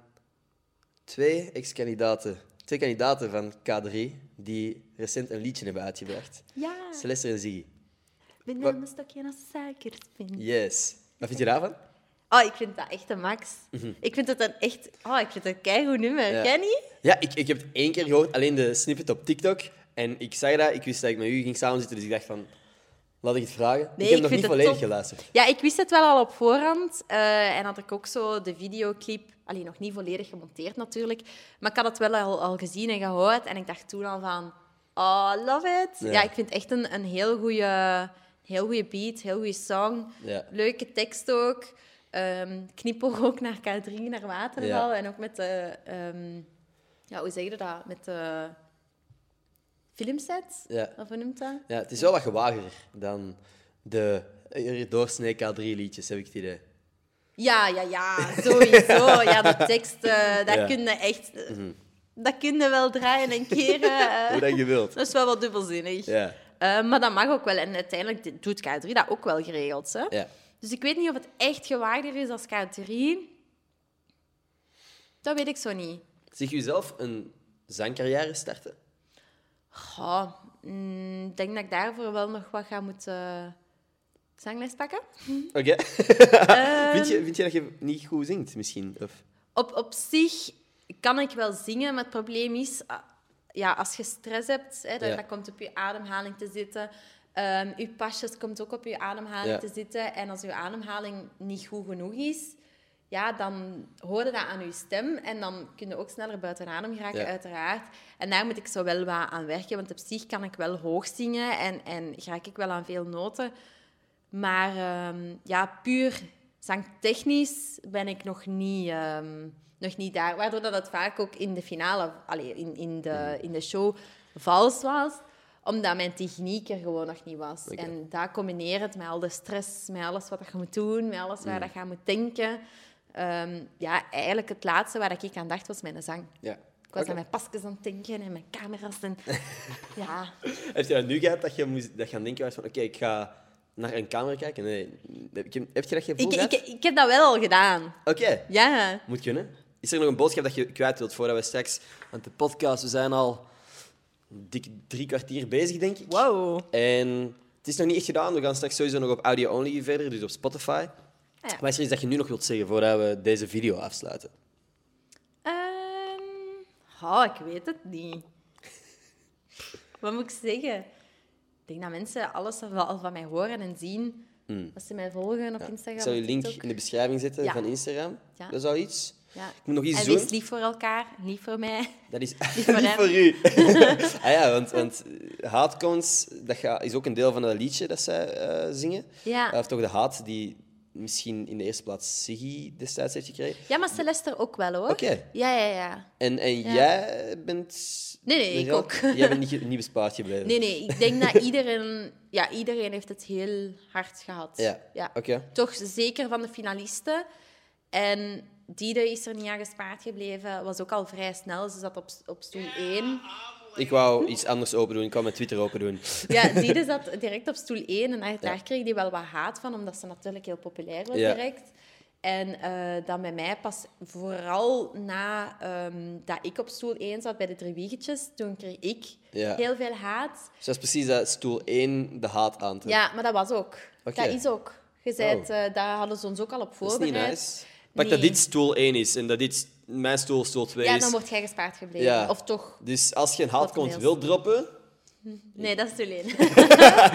Speaker 1: twee ex-kandidaten, twee kandidaten van K3 die recent een liedje hebben uitgebracht.
Speaker 2: Ja,
Speaker 1: Celeste en Ziggy.
Speaker 2: bananenstokje als suikerspin.
Speaker 1: Yes. Wat vind je daarvan?
Speaker 2: Oh, ik vind dat echt een max. Ik vind dat een echt... Oh, ik vind dat een keigoed nummer.
Speaker 1: Mhm. Ja.
Speaker 2: Ken je?
Speaker 1: Ja, ik, ik heb het één keer gehoord, alleen de snippet op TikTok. En ik zag dat, ik wist dat ik met u ging samenzitten, dus ik dacht van, laat ik het vragen.
Speaker 2: Nee,
Speaker 1: ik heb nog
Speaker 2: ik vind
Speaker 1: niet
Speaker 2: het
Speaker 1: volledig
Speaker 2: top.
Speaker 1: geluisterd.
Speaker 2: Ja, ik wist het wel al op voorhand. eh, en had ik ook zo de videoclip... Alleen nog niet volledig gemonteerd natuurlijk. Maar ik had het wel al, al gezien en gehoord. En ik dacht toen al van... Oh, love it.
Speaker 1: Ja.
Speaker 2: Ja, ik vind het echt een, een heel goede... Heel goede beat, heel goede song.
Speaker 1: Ja.
Speaker 2: Leuke tekst ook. Ehm knipoog ook naar K3, naar Waterval.
Speaker 1: Ja.
Speaker 2: En ook met de... ehm, ja, hoe zeg je dat? Met de filmsets?
Speaker 1: Ja.
Speaker 2: Of hoe noemt dat?
Speaker 1: ja, het is wel wat gewager dan de doorsnee K3-liedjes, heb ik het idee.
Speaker 2: Ja, ja, ja, sowieso. Ja, de tekst, eh daar
Speaker 1: Ja. Mhm.
Speaker 2: kun je echt... eh, Dat kun je wel draaien en keren. eh.
Speaker 1: Hoe dat je wilt.
Speaker 2: dat is wel wat dubbelzinnig.
Speaker 1: Ja.
Speaker 2: Eh, maar dat mag ook wel. En uiteindelijk d- doet K3 dat ook wel geregeld. Hè?
Speaker 1: Ja.
Speaker 2: Dus ik weet niet of het echt gewaarder is als K3. Dat weet ik zo niet.
Speaker 1: Zeg je zelf een zangcarrière starten?
Speaker 2: Goh, mm, ik denk dat ik daarvoor wel nog wat ga moeten zangles pakken.
Speaker 1: Oké.
Speaker 2: Ehm.
Speaker 1: vind, je, vind je dat je niet goed zingt, misschien? Of...
Speaker 2: Op, op zich kan ik wel zingen, maar het probleem is, ah, ja, als je stress hebt, hè, dan,
Speaker 1: Ja.
Speaker 2: dat komt op je ademhaling te zitten. Ehm je pasjes komt ook op je ademhaling
Speaker 1: Ja.
Speaker 2: te zitten. En als je ademhaling niet goed genoeg is, ja, dan hoor je dat aan je stem. En dan kun je ook sneller buiten adem geraken,
Speaker 1: Ja.
Speaker 2: uiteraard. En daar moet ik zo wel wat aan werken, want op zich kan ik wel hoog zingen en, en raak ik wel aan veel noten. Maar ehm, ja, puur zangtechnisch ben ik nog niet, ehm, nog niet daar. Waardoor dat het vaak ook in de finale, allee, in, in, de,
Speaker 1: Mm.
Speaker 2: in de show, vals was. Omdat mijn techniek er gewoon nog niet was.
Speaker 1: Oké.
Speaker 2: En dat combinerend met al de stress, met alles wat je moet doen, met alles
Speaker 1: Mm.
Speaker 2: waar dat je aan moet denken. Ehm, ja, eigenlijk het laatste waar ik aan dacht was mijn zang.
Speaker 1: Ja.
Speaker 2: Ik was
Speaker 1: Oké.
Speaker 2: aan mijn pasjes aan het denken en mijn camera's. En... ja,
Speaker 1: Heb je dat nu gehad, dat je moest dat je aan denken was van, oké, ik ga naar een camera kijken? Nee. Heb je, heb je dat gevoel
Speaker 2: ik,
Speaker 1: gehad?
Speaker 2: ik, ik heb dat wel al gedaan.
Speaker 1: Oké.
Speaker 2: Ja.
Speaker 1: Moet kunnen. Is er nog een boodschap dat je kwijt wilt voordat we straks... Want de podcast, we zijn al dik drie kwartier bezig, denk ik.
Speaker 2: Wow.
Speaker 1: En het is nog niet echt gedaan. We gaan straks sowieso nog op audio-only verder, dus op Spotify.
Speaker 2: Ah ja.
Speaker 1: Maar is er iets dat je nu nog wilt zeggen voordat we deze video afsluiten?
Speaker 2: Ehm, oh, ik weet het niet. Wat moet ik zeggen? Ik denk dat mensen alles wel al van mij horen en zien. Als ze mij volgen op Instagram.
Speaker 1: Hmm. Ik zal je
Speaker 2: of
Speaker 1: link
Speaker 2: TikTok.
Speaker 1: in de beschrijving zetten
Speaker 2: Ja.
Speaker 1: van Instagram.
Speaker 2: Ja.
Speaker 1: Dat is al iets.
Speaker 2: Ja.
Speaker 1: Ik moet nog iets
Speaker 2: En
Speaker 1: doen.
Speaker 2: wees lief voor elkaar, niet voor mij.
Speaker 1: Dat is
Speaker 2: voor
Speaker 1: niet
Speaker 2: hem.
Speaker 1: voor u. ah ja, want, want eh, haatcones, dat ga- is ook een deel van dat liedje dat zij eh, zingen.
Speaker 2: Ja.
Speaker 1: Eh, of toch de haat die misschien in de eerste plaats Siggy destijds heeft gekregen.
Speaker 2: Ja, maar Celeste ook wel hoor.
Speaker 1: Oké.
Speaker 2: Ja, ja, ja.
Speaker 1: En, en
Speaker 2: Ja.
Speaker 1: jij bent...
Speaker 2: Nee, nee, ik
Speaker 1: Wel-
Speaker 2: ook.
Speaker 1: Jij bent niet, ge- niet bespaard gebleven.
Speaker 2: Nee, nee, ik denk dat iedereen, ja, iedereen heeft het heel hard gehad.
Speaker 1: Ja, oké.
Speaker 2: Toch zeker van de finalisten. En Diede is er niet aan gespaard gebleven. Was ook al vrij snel. Ze zat op, op stoel 1.
Speaker 1: Ik wou iets anders open doen. Ik wou mijn Twitter open doen. Dus
Speaker 2: Ja, Diede zat direct op stoel 1. En daar, daar kreeg die wel wat haat van, omdat ze natuurlijk heel populair was
Speaker 1: Ja.
Speaker 2: direct. En eh, dan bij mij pas vooral na ehm, dat ik op stoel 1 zat bij de drie wiegetjes, toen kreeg ik
Speaker 1: Ja.
Speaker 2: heel veel haat.
Speaker 1: Dus dat is precies dat stoel 1 de haat aan te
Speaker 2: Ja, maar dat was ook.
Speaker 1: Oké. Oh.
Speaker 2: Dat is ook. Je bent, eh, daar hadden ze ons ook al op
Speaker 1: Dat is
Speaker 2: voorbereid.
Speaker 1: niet nice. Maar dat
Speaker 2: Nee.
Speaker 1: dit stoel 1 is en dat dit mijn stoel stoel 2
Speaker 2: Ja,
Speaker 1: is.
Speaker 2: dan word jij gespaard gebleven.
Speaker 1: Ja.
Speaker 2: Of toch?
Speaker 1: Dus als je een haatcont
Speaker 2: Wat
Speaker 1: wilt droppen... Ah,
Speaker 2: Nee, dat is alleen.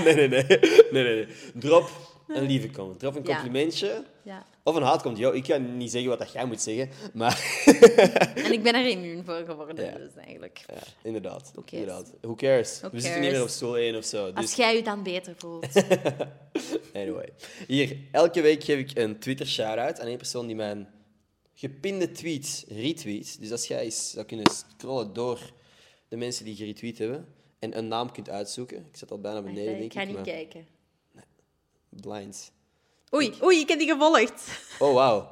Speaker 1: Nee, nee, nee. nee, nee, nee. Drop een lieve comment. Drop een
Speaker 2: Ja.
Speaker 1: complimentje.
Speaker 2: ja.
Speaker 1: Of een haatcomment. Yo, ik kan niet zeggen wat dat jij moet zeggen. Maar
Speaker 2: En ik ben er immuun voor geworden,
Speaker 1: Ja.
Speaker 2: dus eigenlijk.
Speaker 1: ja, inderdaad.
Speaker 2: cares?
Speaker 1: inderdaad. Who cares?
Speaker 2: Who
Speaker 1: We zitten niet meer
Speaker 2: cares?
Speaker 1: op stoel 1 of zo. Dus
Speaker 2: Als jij je dan beter voelt.
Speaker 1: Anyway. Hier, elke week geef ik een Twitter-shout-out aan één persoon die mijn gepinde tweet retweet. Dus als jij eens zou kunnen scrollen door de mensen die geretweet hebben en een naam kunt uitzoeken. Ik zat al bijna beneden,
Speaker 2: Wacht, hè,
Speaker 1: denk
Speaker 2: ik ga niet
Speaker 1: maar
Speaker 2: kijken.
Speaker 1: Blind.
Speaker 2: Oei, oei, ik heb die gevolgd.
Speaker 1: Oh, wauw.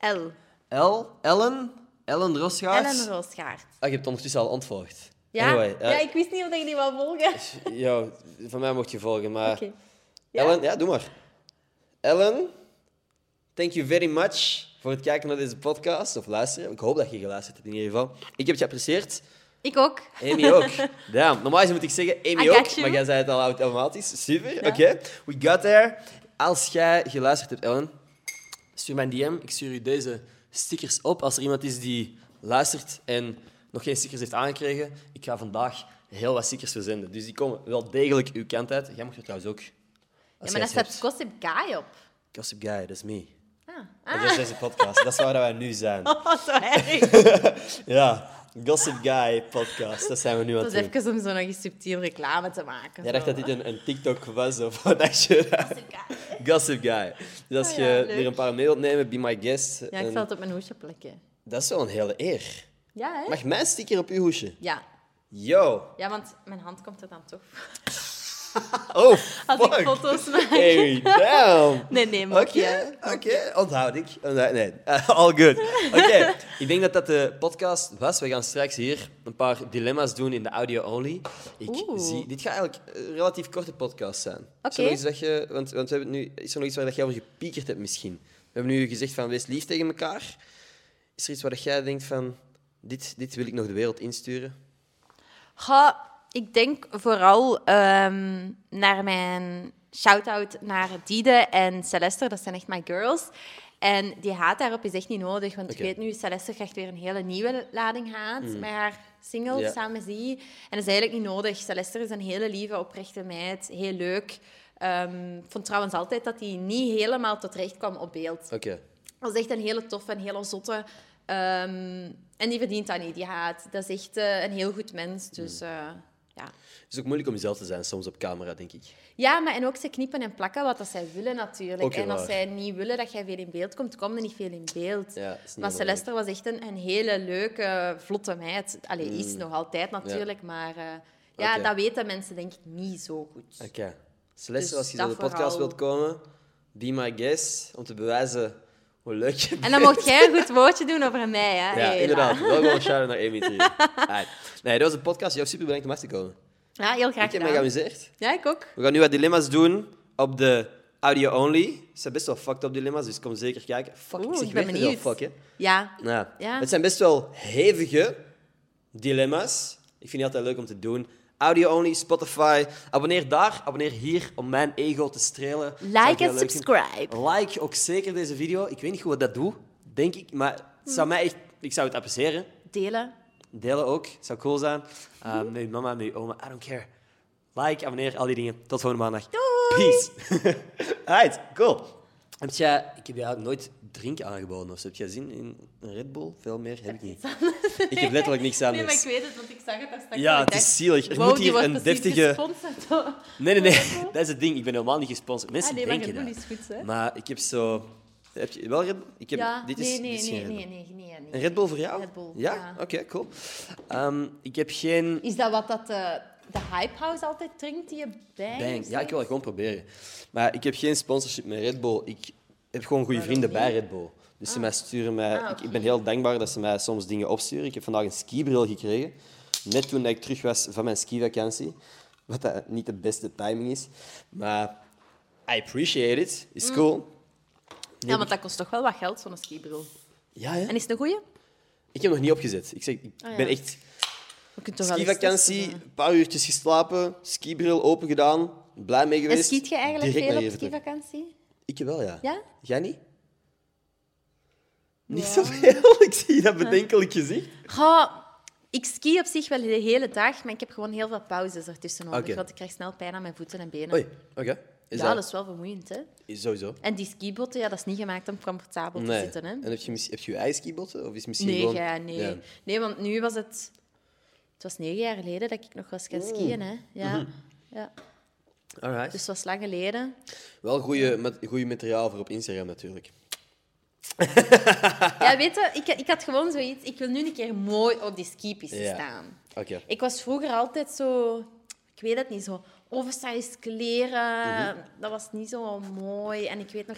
Speaker 2: L.
Speaker 1: El, Ellen, Ellen Rosgaard.
Speaker 2: Ellen Roosgaard.
Speaker 1: Ah, je hebt ondertussen al antwoord.
Speaker 2: Ja?
Speaker 1: Anyway, eh,
Speaker 2: ja, ik wist niet of ik die wou volgen.
Speaker 1: jou, van mij mocht je volgen, maar...
Speaker 2: Oké. Ja?
Speaker 1: Ellen, ja, doe maar. Ellen, thank you very much voor het kijken naar deze podcast. Of luisteren. Ik hoop dat je geluisterd hebt in ieder geval. Ik heb het geapprecieerd.
Speaker 2: Ik ook.
Speaker 1: Amy ook. Damn. Normaal gezien moet ik zeggen Amy
Speaker 2: I
Speaker 1: ook,
Speaker 2: got you.
Speaker 1: maar jij zei het al automatisch. Super, oké. We got there. Als jij geluisterd hebt, Ellen, stuur mij een DM. Ik stuur u deze stickers op. Als er iemand is die luistert en nog geen stickers heeft aangekregen, ik ga vandaag heel wat stickers verzenden. Dus die komen wel degelijk uw kant uit. Jij mocht er trouwens ook.
Speaker 2: Ja,
Speaker 1: Als jij
Speaker 2: maar daar
Speaker 1: het
Speaker 2: staat
Speaker 1: hebt.
Speaker 2: Gossip Guy op.
Speaker 1: Gossip Guy, dat is me.
Speaker 2: Ah.
Speaker 1: Dat is deze podcast. Dat is waar wij nu zijn.
Speaker 2: Oh, zo erg.
Speaker 1: Ja, Gossip Guy podcast. Dat zijn we nu aan
Speaker 2: Dat
Speaker 1: het
Speaker 2: was
Speaker 1: doen.
Speaker 2: even om zo nog eens subtiel reclame te maken.
Speaker 1: Jij dacht
Speaker 2: Zo.
Speaker 1: dat dit een, een TikTok was of wat dacht je?
Speaker 2: Gossip Guy.
Speaker 1: Gossip Guy. Dus als
Speaker 2: Oh
Speaker 1: je
Speaker 2: ja, leuk.
Speaker 1: er een paar mee wilt nemen, be my guest.
Speaker 2: Ja, ik
Speaker 1: En
Speaker 2: zal het op mijn hoesje plakken.
Speaker 1: Dat is wel een hele eer.
Speaker 2: Ja, hè?
Speaker 1: Mag mijn sticker op uw hoesje?
Speaker 2: Ja.
Speaker 1: Yo.
Speaker 2: ja, want mijn hand komt er dan toch.
Speaker 1: Oh,
Speaker 2: Als
Speaker 1: fuck.
Speaker 2: ik foto's maak.
Speaker 1: Hey, damn.
Speaker 2: Nee, nee, maar
Speaker 1: Oké, oké. Onthoud ik. Onthoud- Nee, eh, all good. Oké, ik denk dat dat de podcast was. We gaan straks hier een paar dilemma's doen in de audio-only. Ik
Speaker 2: Oeh.
Speaker 1: zie... Dit gaat eigenlijk een relatief korte podcast zijn.
Speaker 2: Oké.
Speaker 1: Zullen we iets dat je... Want, want we hebben nu... Is er nog iets waar dat jij over gepiekerd hebt misschien? We hebben nu gezegd van wees lief tegen elkaar. Is er iets waar dat jij denkt van... Dit, dit wil ik nog de wereld insturen?
Speaker 2: Ga, ik denk vooral ehm, naar mijn shout-out naar Dide en Celeste. Dat zijn echt mijn girls. En die haat daarop is echt niet nodig. Want
Speaker 1: Oké. Mm.
Speaker 2: ik weet nu, Celeste krijgt weer een hele nieuwe lading haat met haar single
Speaker 1: Ja.
Speaker 2: samen met Zee. En dat is eigenlijk niet nodig. Celeste is een hele lieve, oprechte meid. Heel leuk. Ehm, Ik vond trouwens altijd dat hij niet helemaal tot recht kwam op beeld.
Speaker 1: Oké.
Speaker 2: Dat is echt een hele toffe en hele zotte. ehm, en die verdient dat niet, die haat. Dat is echt eh, een heel goed mens. Dus
Speaker 1: Hmm.
Speaker 2: eh, ja.
Speaker 1: Het is ook moeilijk om jezelf te zijn soms op camera, denk ik.
Speaker 2: Ja, maar en ook ze knippen en plakken wat dat zij willen natuurlijk.
Speaker 1: Ook heel
Speaker 2: en als
Speaker 1: waar.
Speaker 2: zij niet willen dat jij veel in beeld komt, komt er niet veel in beeld.
Speaker 1: Ja, is niet
Speaker 2: maar
Speaker 1: heel
Speaker 2: Celeste was echt een, een hele leuke, vlotte meid. Allee, is nog altijd natuurlijk, maar... eh, ja,
Speaker 1: Hmm. Oké.
Speaker 2: dat weten mensen denk ik niet zo goed.
Speaker 1: Oké. Celeste,
Speaker 2: Dus
Speaker 1: als je zo
Speaker 2: dat
Speaker 1: in de podcast
Speaker 2: vooral.
Speaker 1: wilt komen, be my guest, om te bewijzen hoe leuk je bent.
Speaker 2: En dan mocht jij een goed woordje doen over mij, hè?
Speaker 1: Ja,
Speaker 2: Hela.
Speaker 1: inderdaad. Wel gewoon een shout-out naar Amy Tree. Alright. Nee, dat was een podcast. Jou super bedankt om af te komen.
Speaker 2: Ja, heel graag
Speaker 1: Ik heb me
Speaker 2: gedaan.
Speaker 1: geamuseerd.
Speaker 2: Ja, ik ook.
Speaker 1: We gaan nu wat dilemma's doen op de audio-only. Het zijn best wel fucked up dilemma's, dus kom zeker kijken. Fuck, ik
Speaker 2: Oeh,
Speaker 1: zeg
Speaker 2: ik ben
Speaker 1: weer heel
Speaker 2: benieuwd.
Speaker 1: fuck, hè. Nou
Speaker 2: Ja.
Speaker 1: Ja.
Speaker 2: Ja.
Speaker 1: Het zijn best wel hevige dilemma's. Ik vind die altijd leuk om te doen. Audio only, Spotify. Abonneer daar, abonneer hier om mijn ego te strelen. Zou ik
Speaker 2: Like
Speaker 1: heel
Speaker 2: en
Speaker 1: leuk vinden.
Speaker 2: subscribe.
Speaker 1: Like ook zeker deze video. Ik weet niet hoe ik dat doe, denk ik. Maar het zou mij echt, ik zou het appreciëren.
Speaker 2: Delen.
Speaker 1: Delen ook, zou cool zijn. Uh,
Speaker 2: Mhm.
Speaker 1: met je mama, met je oma, I don't care. Like, abonneer, al die dingen. Tot volgende maandag.
Speaker 2: Doei!
Speaker 1: Peace. Alright, cool. Heb jij, ik heb jou nooit drinken aangeboden of zo. Heb jij zin in een Red Bull? Veel meer heb ik niet. Ik heb letterlijk niks dus.
Speaker 2: Nee, maar ik
Speaker 1: anders.
Speaker 2: weet het, want ik zag het daar straks.
Speaker 1: Ja,
Speaker 2: en ik
Speaker 1: het is
Speaker 2: dacht,
Speaker 1: zielig. Er
Speaker 2: wow,
Speaker 1: moet
Speaker 2: die
Speaker 1: hier
Speaker 2: wordt
Speaker 1: een
Speaker 2: precies
Speaker 1: deftige-
Speaker 2: gesponsord door-
Speaker 1: Nee, nee, nee. Dat is het ding. Ik ben helemaal niet gesponsord. Mensen
Speaker 2: Ah, nee, maar
Speaker 1: denken
Speaker 2: Red Bull
Speaker 1: dat.
Speaker 2: is goed, hè?
Speaker 1: Maar ik heb zo... Heb je wel Red Bull? Ik heb,
Speaker 2: Ja,
Speaker 1: dit is,
Speaker 2: nee, nee,
Speaker 1: dit is geen
Speaker 2: nee,
Speaker 1: Red Bull.
Speaker 2: nee, nee, nee, nee.
Speaker 1: Een Red Bull voor jou?
Speaker 2: Red Bull,
Speaker 1: Ja?
Speaker 2: ja.
Speaker 1: Oké, cool. Ehm, ik heb geen...
Speaker 2: Is dat wat dat eh, de Hype House altijd drinkt, die je bij?
Speaker 1: Bang. Ja, ik wil dat gewoon proberen. Maar ik heb geen sponsorship met Red Bull. Ik heb gewoon goede vrienden bij Red Bull. Dus ze mij sturen mij...
Speaker 2: Ah,
Speaker 1: ik, ik ben heel dankbaar dat ze mij soms dingen opsturen. Ik heb vandaag een skibril gekregen. Net toen ik terug was van mijn skivakantie. Wat dat niet de beste timing is. Maar I appreciate it. Is
Speaker 2: Mm.
Speaker 1: cool.
Speaker 2: Ja, want dat kost toch wel wat geld, zo'n skibril.
Speaker 1: Ja, hè?
Speaker 2: En is het een goeie?
Speaker 1: Ik heb hem nog niet opgezet. Ik, zeg, ik
Speaker 2: Ah,
Speaker 1: ben
Speaker 2: ja.
Speaker 1: echt...
Speaker 2: We kunnen toch wel eens
Speaker 1: Skivakantie,
Speaker 2: testen,
Speaker 1: een paar uurtjes geslapen. Skibril open gedaan. Blij mee
Speaker 2: hè.
Speaker 1: geweest.
Speaker 2: En skiet je eigenlijk
Speaker 1: Direct naar
Speaker 2: veel op
Speaker 1: Everton.
Speaker 2: skivakantie?
Speaker 1: Ik wel, ja.
Speaker 2: Ja?
Speaker 1: Jij niet? Niet zoveel. Ik zie dat bedenkelijk gezicht.
Speaker 2: Goh, ik ski op zich wel de hele dag, maar ik heb gewoon heel veel pauzes ertussen nodig,
Speaker 1: Oké.
Speaker 2: want ik krijg snel pijn aan mijn voeten en benen.
Speaker 1: Oei, oké. Is
Speaker 2: ja,
Speaker 1: dat...
Speaker 2: dat is wel vermoeiend, hè?
Speaker 1: is sowieso.
Speaker 2: En die skibotten, ja, dat is niet gemaakt om comfortabel
Speaker 1: Nee.
Speaker 2: te zitten, hè?
Speaker 1: En heb je, mis- heb je je eigen skibotten? Of is misschien
Speaker 2: Nee,
Speaker 1: gewoon...
Speaker 2: ja, nee.
Speaker 1: Ja.
Speaker 2: Nee, want nu was het... Het was negen jaar geleden dat ik nog was
Speaker 1: Mm.
Speaker 2: gaan skiën, hè. Ja.
Speaker 1: Mhm.
Speaker 2: ja.
Speaker 1: Alright.
Speaker 2: Dus het was lang geleden.
Speaker 1: Wel goede materiaal voor op Instagram natuurlijk.
Speaker 2: Ja, weet je, ik, ik had gewoon zoiets... Ik wil nu een keer mooi op die skipiste
Speaker 1: Ja.
Speaker 2: staan.
Speaker 1: Oké.
Speaker 2: Ik was vroeger altijd zo... Ik weet het niet, zo oversized kleren.
Speaker 1: Mhm.
Speaker 2: Dat was niet zo mooi. En ik weet nog,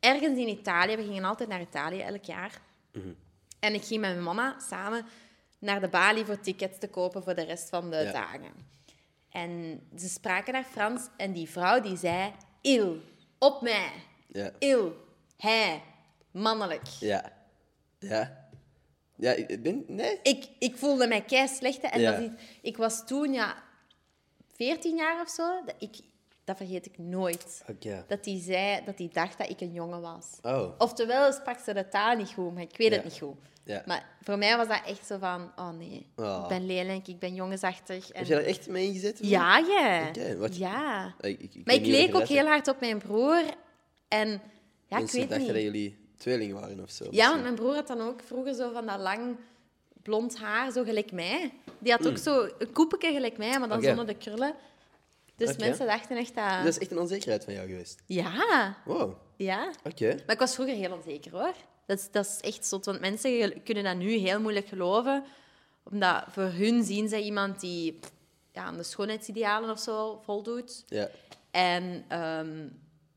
Speaker 2: ergens in Italië... We gingen altijd naar Italië, elk jaar.
Speaker 1: Mhm.
Speaker 2: En ik ging met mijn mama samen naar de balie voor tickets te kopen voor de rest van de
Speaker 1: Ja.
Speaker 2: dagen. En ze spraken naar Frans en die vrouw die zei... Il, op mij.
Speaker 1: Ja.
Speaker 2: Il, hij, mannelijk.
Speaker 1: Ja. Ja. Ja, ik ben... Nee.
Speaker 2: Ik, ik voelde mij kei slecht. hè, En
Speaker 1: Ja.
Speaker 2: dat is- ik was toen ja, 14 jaar of zo. Dat, ik, dat vergeet ik nooit.
Speaker 1: Oké.
Speaker 2: Dat hij zei dat hij dacht dat ik een jongen was.
Speaker 1: Oh.
Speaker 2: Oftewel sprak ze de taal niet goed, maar ik weet
Speaker 1: Ja.
Speaker 2: het niet goed.
Speaker 1: Ja.
Speaker 2: Maar voor mij was dat echt zo van: oh nee,
Speaker 1: Oh.
Speaker 2: ik ben lelijk, ik ben jongensachtig. En...
Speaker 1: Heb je daar echt mee ingezet?
Speaker 2: Ja, ja.
Speaker 1: Oké, wat-
Speaker 2: ja.
Speaker 1: Eh, Ik, ik, ik
Speaker 2: Maar
Speaker 1: weet
Speaker 2: ik
Speaker 1: niet of
Speaker 2: leek
Speaker 1: je
Speaker 2: ook
Speaker 1: dat-
Speaker 2: heel hard op mijn broer. En ja,
Speaker 1: Mensen
Speaker 2: ik weet
Speaker 1: dachten
Speaker 2: niet.
Speaker 1: dat jullie tweelingen waren of zo.
Speaker 2: Ja, want mijn broer had dan ook vroeger zo van dat lang blond haar, zo gelijk mij. Die had ook zo een koepeltje gelijk mij, maar dan
Speaker 1: Mm. Oké.
Speaker 2: zonder de krullen. Dus
Speaker 1: Oké. Dus-
Speaker 2: mensen dachten echt dat...
Speaker 1: Dat is echt een onzekerheid van jou geweest.
Speaker 2: Ja,
Speaker 1: Wow. Oké.
Speaker 2: ja. Maar ik was vroeger heel onzeker, hoor. Dat is, dat is echt zot, want mensen gel- kunnen dat nu heel moeilijk geloven. Omdat voor hun zien ze iemand die pff, ja, aan de schoonheidsidealen of zo voldoet.
Speaker 1: Ja.
Speaker 2: En, ehm,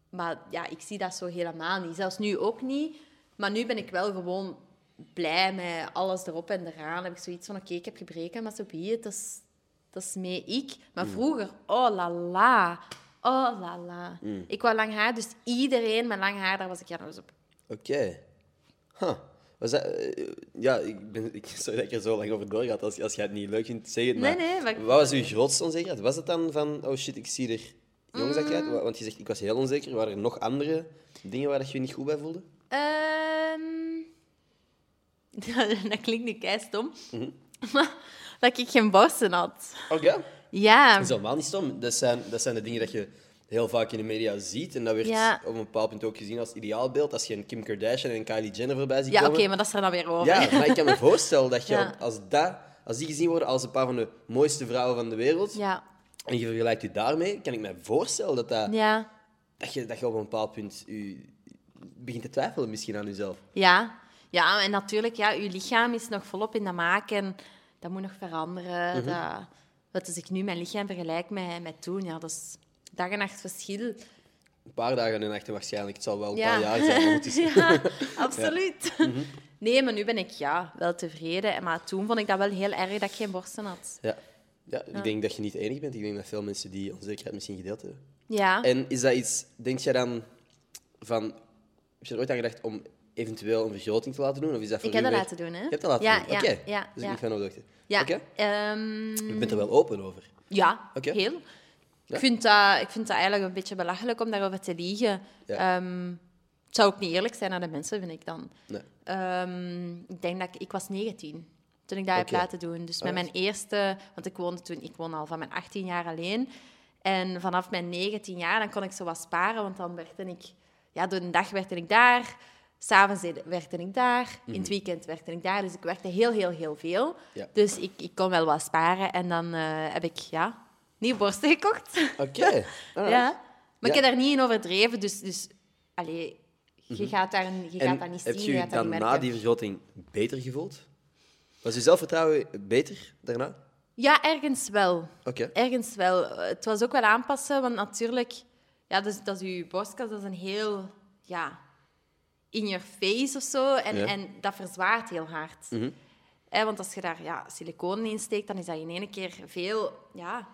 Speaker 2: maar ja, ik zie dat zo helemaal niet. Zelfs nu ook niet. Maar nu ben ik wel gewoon blij met alles erop en eraan. Heb ik zoiets van, oké, ik heb gebreken, maar zo be it. Dat is, dat is mee ik.
Speaker 1: Mm.
Speaker 2: Maar vroeger, oh la la. Oh la la.
Speaker 1: Mm.
Speaker 2: Ik wou lang haar, dus iedereen met lang haar, daar was ik jaloers op.
Speaker 1: Oké. Huh. Was dat... eh, ja, ik ben... Ik, sorry dat ik er zo lang over doorgaat. Als, als jij het niet leuk vindt, zeg het
Speaker 2: Nee,
Speaker 1: maar.
Speaker 2: nee, maar ik-
Speaker 1: Wat was uw grootste onzekerheid? Was het dan van... Oh shit, ik zie er jongensachtig
Speaker 2: Mm.
Speaker 1: uit? Wa- Want je zegt, ik was heel onzeker. Waren er nog andere dingen waar dat je je niet goed bij voelde?
Speaker 2: Ehm, dat klinkt nu kei stom.
Speaker 1: Mhm.
Speaker 2: Maar dat ik geen borsten had.
Speaker 1: Oké.
Speaker 2: Ja.
Speaker 1: Dat is helemaal niet stom. Dat zijn, dat zijn de dingen dat je heel vaak in de media ziet. En dat werd
Speaker 2: Ja.
Speaker 1: op een bepaald punt ook gezien als ideaalbeeld. Als je een Kim Kardashian en een Kylie Jenner voorbij ziet
Speaker 2: Ja, oké,
Speaker 1: komen.
Speaker 2: maar dat is er dan weer over.
Speaker 1: Ja, maar ik kan me voorstellen dat je
Speaker 2: Ja.
Speaker 1: als, dat, als die gezien worden als een paar van de mooiste vrouwen van de wereld.
Speaker 2: Ja,
Speaker 1: En je vergelijkt je daarmee, kan ik me voorstellen dat, dat,
Speaker 2: ja,
Speaker 1: dat, je, dat je op een bepaald punt je, begint te twijfelen misschien aan jezelf.
Speaker 2: ja. Ja, en natuurlijk, ja, uw lichaam is nog volop in de maak en dat moet nog veranderen.
Speaker 1: Mhm.
Speaker 2: dat, wat als ik nu mijn lichaam vergelijk met, met toen, ja, dat is dag en nacht verschil.
Speaker 1: Een paar dagen en nachten waarschijnlijk. Het zal wel een
Speaker 2: ja.
Speaker 1: paar jaar zijn. maar het is-
Speaker 2: ja, absoluut.
Speaker 1: Mhm.
Speaker 2: Nee, maar nu ben ik ja, wel tevreden. En Maar toen vond ik dat wel heel erg dat ik geen borsten had.
Speaker 1: Ja. Ja, ik denk dat je niet de enige bent. Ik denk dat veel mensen die onzekerheid misschien gedeeld hebben.
Speaker 2: Ja.
Speaker 1: En is dat iets, denk jij dan van. Heb je er ooit aan gedacht om eventueel een vergroting te laten doen? Of is dat voor
Speaker 2: Ik heb
Speaker 1: u
Speaker 2: dat
Speaker 1: weer-
Speaker 2: laten doen, hè?
Speaker 1: Je hebt dat laten
Speaker 2: Ja,
Speaker 1: doen.
Speaker 2: ja,
Speaker 1: Oké.
Speaker 2: ja,
Speaker 1: Dus ik
Speaker 2: ja.
Speaker 1: ben fan op de hoogte.
Speaker 2: ja,
Speaker 1: Oké.
Speaker 2: ehm,
Speaker 1: Je bent er wel open over.
Speaker 2: Ja,
Speaker 1: Oké.
Speaker 2: heel.
Speaker 1: Ja.
Speaker 2: Ik, vind dat, ik vind dat eigenlijk een beetje belachelijk om daarover te liegen.
Speaker 1: Ja.
Speaker 2: Ehm, het zou ook niet eerlijk zijn aan de mensen, vind ik dan.
Speaker 1: Nee.
Speaker 2: Ehm, ik denk dat ik, ik was 19 toen ik dat heb
Speaker 1: Oké. Oh,
Speaker 2: laten doen. Dus met
Speaker 1: Alright.
Speaker 2: mijn eerste... Want ik woonde toen... Ik woonde al van mijn 18 jaar alleen. En vanaf mijn 19 jaar, dan kon ik zo wat sparen. Want dan werkte ik... Ja, door de dag werkte ik daar. S'avonds werkte ik daar. In het weekend werkte ik daar. Dus ik werkte heel, heel, heel veel.
Speaker 1: Mhm. Ja.
Speaker 2: Dus ik, ik kon wel wat sparen. En dan eh, heb ik, ja, nieuwe borsten gekocht.
Speaker 1: Oké.
Speaker 2: Ja. Maar
Speaker 1: Ja.
Speaker 2: ik heb daar niet in overdreven, dus... dus allee, je gaat, daar, je gaat dat niet zien,
Speaker 1: Mhm. heb je
Speaker 2: je,
Speaker 1: je
Speaker 2: gaat dat
Speaker 1: dan
Speaker 2: niet
Speaker 1: na
Speaker 2: merken.
Speaker 1: die vergroting beter gevoeld? Was je zelfvertrouwen beter daarna?
Speaker 2: Ja, ergens wel.
Speaker 1: Oké.
Speaker 2: Ergens wel. Eh, Het was ook wel aanpassen, want natuurlijk... Ja, dus, dat is uw borstkas, dat is een heel... Ja, in your face of zo. En,
Speaker 1: Ja. Mhm.
Speaker 2: en dat verzwaart heel hard. Eh, want als je daar ja, siliconen in steekt, dan is dat in één keer veel... Ja,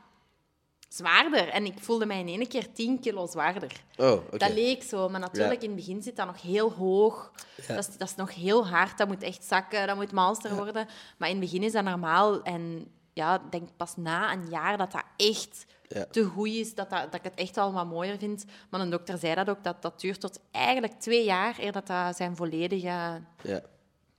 Speaker 2: zwaarder. En ik voelde mij in één keer 10 kilo zwaarder.
Speaker 1: Oh, oké.
Speaker 2: Dat leek zo, maar natuurlijk
Speaker 1: Ja.
Speaker 2: in het begin zit dat nog heel hoog. Dat, is, dat is nog heel hard, dat moet echt zakken, dat moet malster worden. Maar in het begin is dat normaal. En ja, ik denk pas na een jaar dat dat echt
Speaker 1: Ja.
Speaker 2: te goed is, dat, dat, dat ik het echt al wat mooier vind. Maar een dokter zei dat ook, dat dat duurt tot eigenlijk twee jaar eer dat dat zijn volledige ja,
Speaker 1: Ja.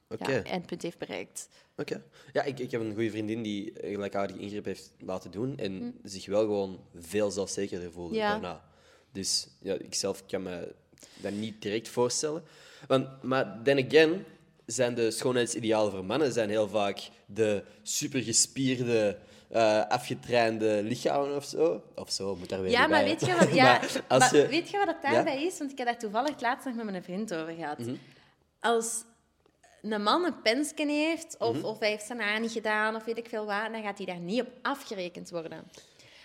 Speaker 1: Oké.
Speaker 2: eindpunt heeft bereikt.
Speaker 1: Oké. Ja, ik, ik heb een goede vriendin die een gelijkaardige ingreep heeft laten doen en zich wel gewoon veel zelfzekerder voelde
Speaker 2: Hm. Ja.
Speaker 1: daarna. Dus ja, ik zelf kan me dat niet direct voorstellen. Want, maar then again zijn de schoonheidsidealen voor mannen zijn heel vaak de supergespierde, eh afgetrainde lichamen of zo. Of zo, moet daar weer
Speaker 2: Ja,
Speaker 1: niet
Speaker 2: maar
Speaker 1: bij,
Speaker 2: weet
Speaker 1: hè.
Speaker 2: je wat, ja,
Speaker 1: Maar als
Speaker 2: maar
Speaker 1: je-
Speaker 2: weet je wat het daarbij is? Want ik heb daar toevallig het laatst nog met mijn vriend over gehad.
Speaker 1: Mhm.
Speaker 2: Als een man een pensken heeft, of,
Speaker 1: Mhm.
Speaker 2: of hij heeft zijn haar niet gedaan, of weet ik veel wat, dan gaat hij daar niet op afgerekend worden.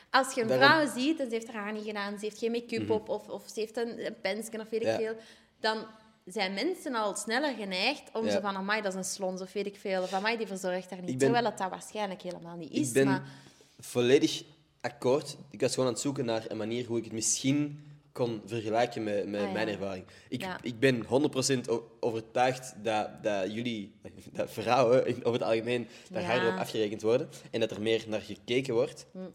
Speaker 2: Als je een
Speaker 1: Daarom- Mhm.
Speaker 2: vrouw ziet en ze heeft haar haar niet gedaan, ze heeft geen make-up op, of, of ze heeft een, een pensken, of weet ik
Speaker 1: Ja.
Speaker 2: veel, dan zijn mensen al sneller geneigd om
Speaker 1: Ja.
Speaker 2: zo van, amai, dat is een slons, of weet ik veel, of amai, die verzorgt daar niet.
Speaker 1: Ik ben-
Speaker 2: Terwijl dat dat waarschijnlijk helemaal niet is,
Speaker 1: Ik ben
Speaker 2: maar...
Speaker 1: volledig akkoord. Ik was gewoon aan het zoeken naar een manier hoe ik het misschien kon vergelijken met, met
Speaker 2: Ah, ja.
Speaker 1: mijn ervaring. Ik,
Speaker 2: Ja.
Speaker 1: ik ben 100% o- overtuigd dat, dat jullie, dat vrouwen in- over het algemeen, daar
Speaker 2: Ja.
Speaker 1: harder op afgerekend worden en dat er meer naar gekeken wordt.
Speaker 2: Mm.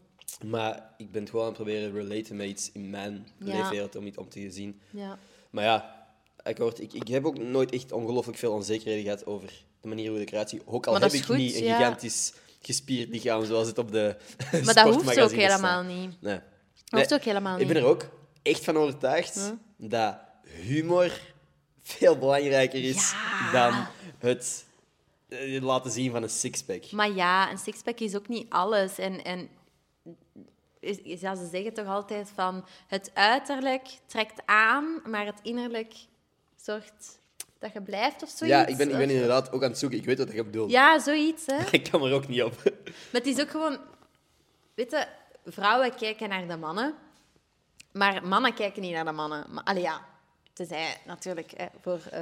Speaker 1: Maar ik ben het gewoon aan het proberen relaten met iets in mijn
Speaker 2: Ja.
Speaker 1: leefwereld om, iets- om te zien.
Speaker 2: Ja.
Speaker 1: Maar ja, akkoord, ik, ik heb ook nooit echt ongelooflijk veel onzekerheden gehad over de manier hoe ik eruit zie. Ook al
Speaker 2: Maar dat
Speaker 1: heb
Speaker 2: is
Speaker 1: ik
Speaker 2: goed,
Speaker 1: niet een
Speaker 2: ja.
Speaker 1: gigantisch gespierd lichaam zoals het op de
Speaker 2: Maar dat hoeft ook
Speaker 1: sportmagazines
Speaker 2: helemaal
Speaker 1: staat.
Speaker 2: niet.
Speaker 1: Nee.
Speaker 2: Dat hoeft
Speaker 1: Nee,
Speaker 2: ook helemaal
Speaker 1: Ik ben
Speaker 2: niet.
Speaker 1: er ook echt van overtuigd dat humor veel belangrijker is
Speaker 2: Ja.
Speaker 1: dan het eh, laten zien van een sixpack.
Speaker 2: Maar ja, een sixpack is ook niet alles. En, en is, is- ja, ze zeggen toch altijd van het uiterlijk trekt aan, maar het innerlijk zorgt dat je blijft of zoiets.
Speaker 1: Ja, ik ben, ik ben inderdaad ook aan het zoeken. Ik weet wat ik bedoel.
Speaker 2: Ja, zoiets, hè.
Speaker 1: Ik kan er ook niet op.
Speaker 2: Maar het is ook gewoon... Weet je, vrouwen kijken naar de mannen, maar mannen kijken niet naar de mannen. Maar, allee, ja, tenzij natuurlijk hè, voor eh,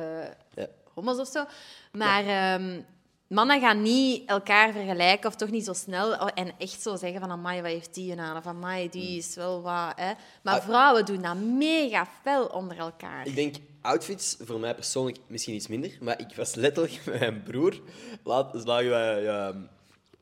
Speaker 1: Ja.
Speaker 2: homo's of zo. Maar ehm, mannen gaan niet elkaar vergelijken, of toch niet zo snel. oh, En echt zo zeggen van, amai, wat heeft die aan? Of amai, die is wel wat. Hè.
Speaker 1: Hmm.
Speaker 2: Maar
Speaker 1: Ah.
Speaker 2: vrouwen doen dat mega fel onder elkaar.
Speaker 1: Ik denk outfits voor mij persoonlijk misschien iets minder, maar ik was letterlijk met mijn broer laat, dus lagen we, ehm,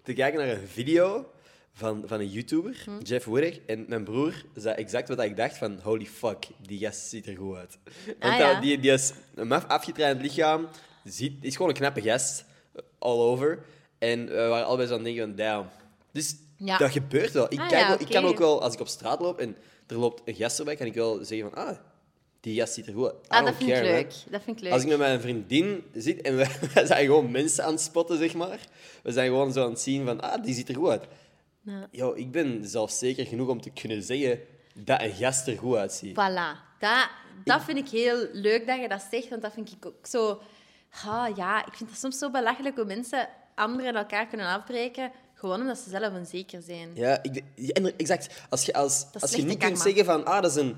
Speaker 1: te kijken naar een video van, van een YouTuber,
Speaker 2: Mhm.
Speaker 1: Jeff Woodek, en mijn broer zei exact wat ik dacht van holy fuck, die gast ziet er goed uit. Want
Speaker 2: Ah, ja.
Speaker 1: dat- die, die is een maf afgetraind lichaam, ziet, is gewoon een knappe gast, eh, all over. En we waren allebei zo aan het denken van damn. Dus
Speaker 2: Ja.
Speaker 1: dat gebeurt wel. Ik,
Speaker 2: Ah,
Speaker 1: kijk
Speaker 2: ja,
Speaker 1: wel- ik kan
Speaker 2: oké.
Speaker 1: ook wel, als ik op straat loop en er loopt een gast erbij, kan ik wel zeggen van ah, die gast ziet er goed uit. I
Speaker 2: Ah, dat
Speaker 1: don't
Speaker 2: vind ik
Speaker 1: care, man.
Speaker 2: leuk. Dat vind ik leuk.
Speaker 1: Als ik met mijn vriendin zit en wij, wij zijn gewoon mensen aan het spotten, zeg maar. We zijn gewoon zo aan het zien van, ah, die ziet er goed uit.
Speaker 2: Ja.
Speaker 1: Yo, ik ben zelfzeker genoeg om te kunnen zeggen dat een gast er goed uitziet.
Speaker 2: Voilà. Dat, dat vind ik heel leuk dat je dat zegt, want dat vind ik ook zo... Ah, ja, ik vind dat soms zo belachelijk hoe mensen anderen elkaar kunnen afbreken, gewoon omdat ze zelf onzeker zijn.
Speaker 1: Ja, ik, ja, en exact. Als je, als, als
Speaker 2: is
Speaker 1: je
Speaker 2: slechte
Speaker 1: niet kunt
Speaker 2: karma.
Speaker 1: zeggen van, ah, dat is een...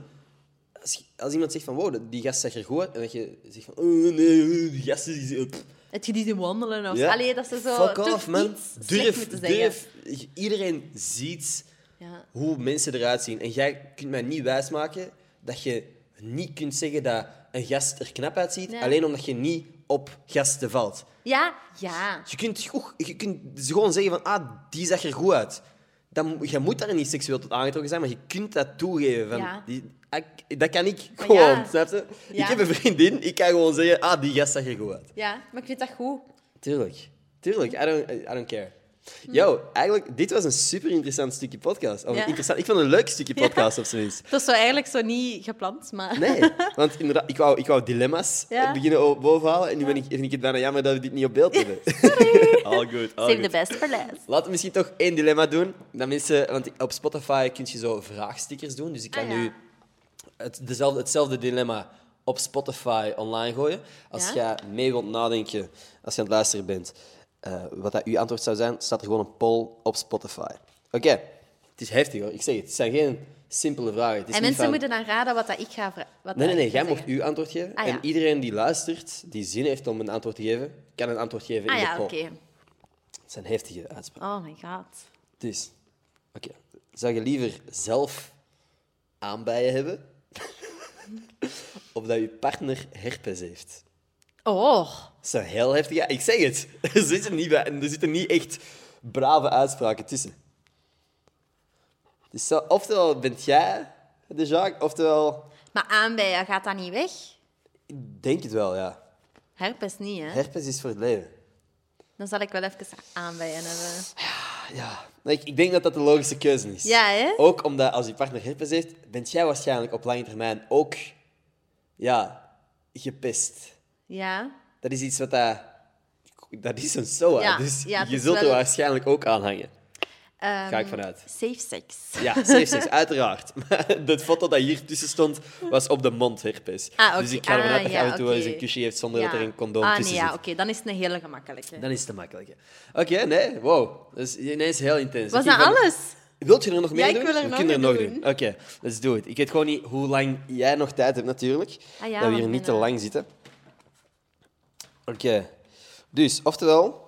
Speaker 1: Als, je- als iemand zegt van, wow, die gast zag er goed uit, en dat je zegt van, oh nee, eh, die gast is... eh, pff.
Speaker 2: Het je die zien wandelen of...
Speaker 1: Ja.
Speaker 2: Allee, dat ze zo
Speaker 1: Fuck
Speaker 2: toch
Speaker 1: off, man.
Speaker 2: iets slechts
Speaker 1: Durf,
Speaker 2: moeten zeggen.
Speaker 1: durf. Iedereen ziet
Speaker 2: Ja.
Speaker 1: hoe mensen eruit zien. En jij kunt mij niet wijsmaken dat je niet kunt zeggen dat een gast er knap uitziet,
Speaker 2: Nee.
Speaker 1: alleen omdat je niet op gasten valt.
Speaker 2: ja, ja.
Speaker 1: Je kunt, goe- je kunt dus gewoon zeggen van, ah, die zag er goed uit. Dan, je moet daar niet seksueel tot aangetrokken zijn, maar je kunt dat toegeven. Van,
Speaker 2: Ja.
Speaker 1: die, ah, ik- dat kan ik
Speaker 2: Maar
Speaker 1: gewoon,
Speaker 2: ja.
Speaker 1: snap je?
Speaker 2: Ja.
Speaker 1: Ik heb een vriendin, ik kan gewoon zeggen, ah, die gast zag er goed uit.
Speaker 2: Ja, maar ik vind dat goed.
Speaker 1: Tuurlijk. Tuurlijk. I don't, I don't care. Yo, eigenlijk, dit was een super interessant stukje podcast. Of
Speaker 2: Hm. Ja.
Speaker 1: interessant, ik vond het een leuk stukje podcast, op zijn minst.
Speaker 2: Dat is zo eigenlijk zo niet gepland, maar...
Speaker 1: Nee, want inderdaad, ik wou, ik wou dilemma's
Speaker 2: Ja.
Speaker 1: eh, beginnen o- bovenhalen. En nu ben ik, vind ik het bijna jammer dat we dit niet op beeld hebben. all good, all
Speaker 2: Save the
Speaker 1: good.
Speaker 2: best for last.
Speaker 1: Laten we misschien toch één dilemma doen. Dat mensen, want op Spotify kun je zo vraagstickers doen. Dus ik kan
Speaker 2: Ah, ja.
Speaker 1: nu het, dezelfde, hetzelfde dilemma op Spotify online gooien. Als
Speaker 2: Ja?
Speaker 1: jij mee wilt nadenken, als je aan het luisteren bent, eh, wat dat uw antwoord zou zijn, staat er gewoon een poll op Spotify. Oké, het is heftig hoor. Ik zeg het, het zijn geen simpele vragen. Het is niet
Speaker 2: En mensen
Speaker 1: van-
Speaker 2: moeten dan raden wat dat ik ga... vra- Wat
Speaker 1: Nee, nee,
Speaker 2: dat
Speaker 1: nee.
Speaker 2: ik ga
Speaker 1: Jij mocht
Speaker 2: zeggen.
Speaker 1: uw antwoord geven.
Speaker 2: Ah, ja.
Speaker 1: En iedereen die luistert, die zin heeft om een antwoord te geven, kan een antwoord geven
Speaker 2: Ah
Speaker 1: in
Speaker 2: ja,
Speaker 1: de
Speaker 2: oké.
Speaker 1: poll. Het zijn heftige uitspraken.
Speaker 2: Oh my god.
Speaker 1: Dus, oké. Zou je liever zelf aanbijen hebben? of dat je partner herpes heeft?
Speaker 2: Oh...
Speaker 1: Dat is een heel heftig. Ja, ik zeg het. Er zitten niet, bij- er zitten niet echt brave uitspraken tussen. Dus zo, oftewel bent jij de Jacques, oftewel...
Speaker 2: Maar aanbijen, gaat dat niet weg?
Speaker 1: Ik denk het wel, ja.
Speaker 2: Herpes niet, hè?
Speaker 1: Herpes is voor het leven.
Speaker 2: Dan zal ik wel even eh. aanbijen hebben.
Speaker 1: Ja, nee, ik, ik denk dat dat de logische keuze is.
Speaker 2: Ja, hè?
Speaker 1: Ook omdat als je partner herpes heeft, bent jij waarschijnlijk op lange termijn ook ja, gepest.
Speaker 2: Ja.
Speaker 1: Dat is iets wat dat... Dat is een SOA,
Speaker 2: Ja,
Speaker 1: dus
Speaker 2: ja, het
Speaker 1: je
Speaker 2: is
Speaker 1: zult
Speaker 2: wel
Speaker 1: er
Speaker 2: een-
Speaker 1: waarschijnlijk ook aan hangen.
Speaker 2: Ehm,
Speaker 1: Ga ik vanuit.
Speaker 2: Safe sex.
Speaker 1: Ja, safe sex, uiteraard. Maar de foto dat hier tussen stond, was op de mond herpes.
Speaker 2: Ah, oké.
Speaker 1: Dus ik ga ervan
Speaker 2: Ah,
Speaker 1: uit dat je
Speaker 2: ja,
Speaker 1: af en toe
Speaker 2: oké.
Speaker 1: wel eens een kusje heeft zonder dat er een condoom
Speaker 2: ah, nee,
Speaker 1: tussen
Speaker 2: ja,
Speaker 1: zit.
Speaker 2: oké. Dan is het een hele gemakkelijke.
Speaker 1: Dan is het te makkelijk. hè. Oké, nee, wow. Dat is ineens heel intens.
Speaker 2: Was
Speaker 1: Oké,
Speaker 2: dat
Speaker 1: ik ben-
Speaker 2: alles?
Speaker 1: Wilt je er nog meer
Speaker 2: Ja, ik
Speaker 1: doen?
Speaker 2: wil er
Speaker 1: We
Speaker 2: nog
Speaker 1: kunnen
Speaker 2: een
Speaker 1: nog
Speaker 2: doen.
Speaker 1: Oké, let's do it. Ik weet gewoon niet hoe lang jij nog tijd hebt, natuurlijk.
Speaker 2: Ah
Speaker 1: dat
Speaker 2: ja,
Speaker 1: we
Speaker 2: want
Speaker 1: hier
Speaker 2: ik
Speaker 1: niet te
Speaker 2: ben, eh,
Speaker 1: lang zitten. Oké. Dus, oftewel,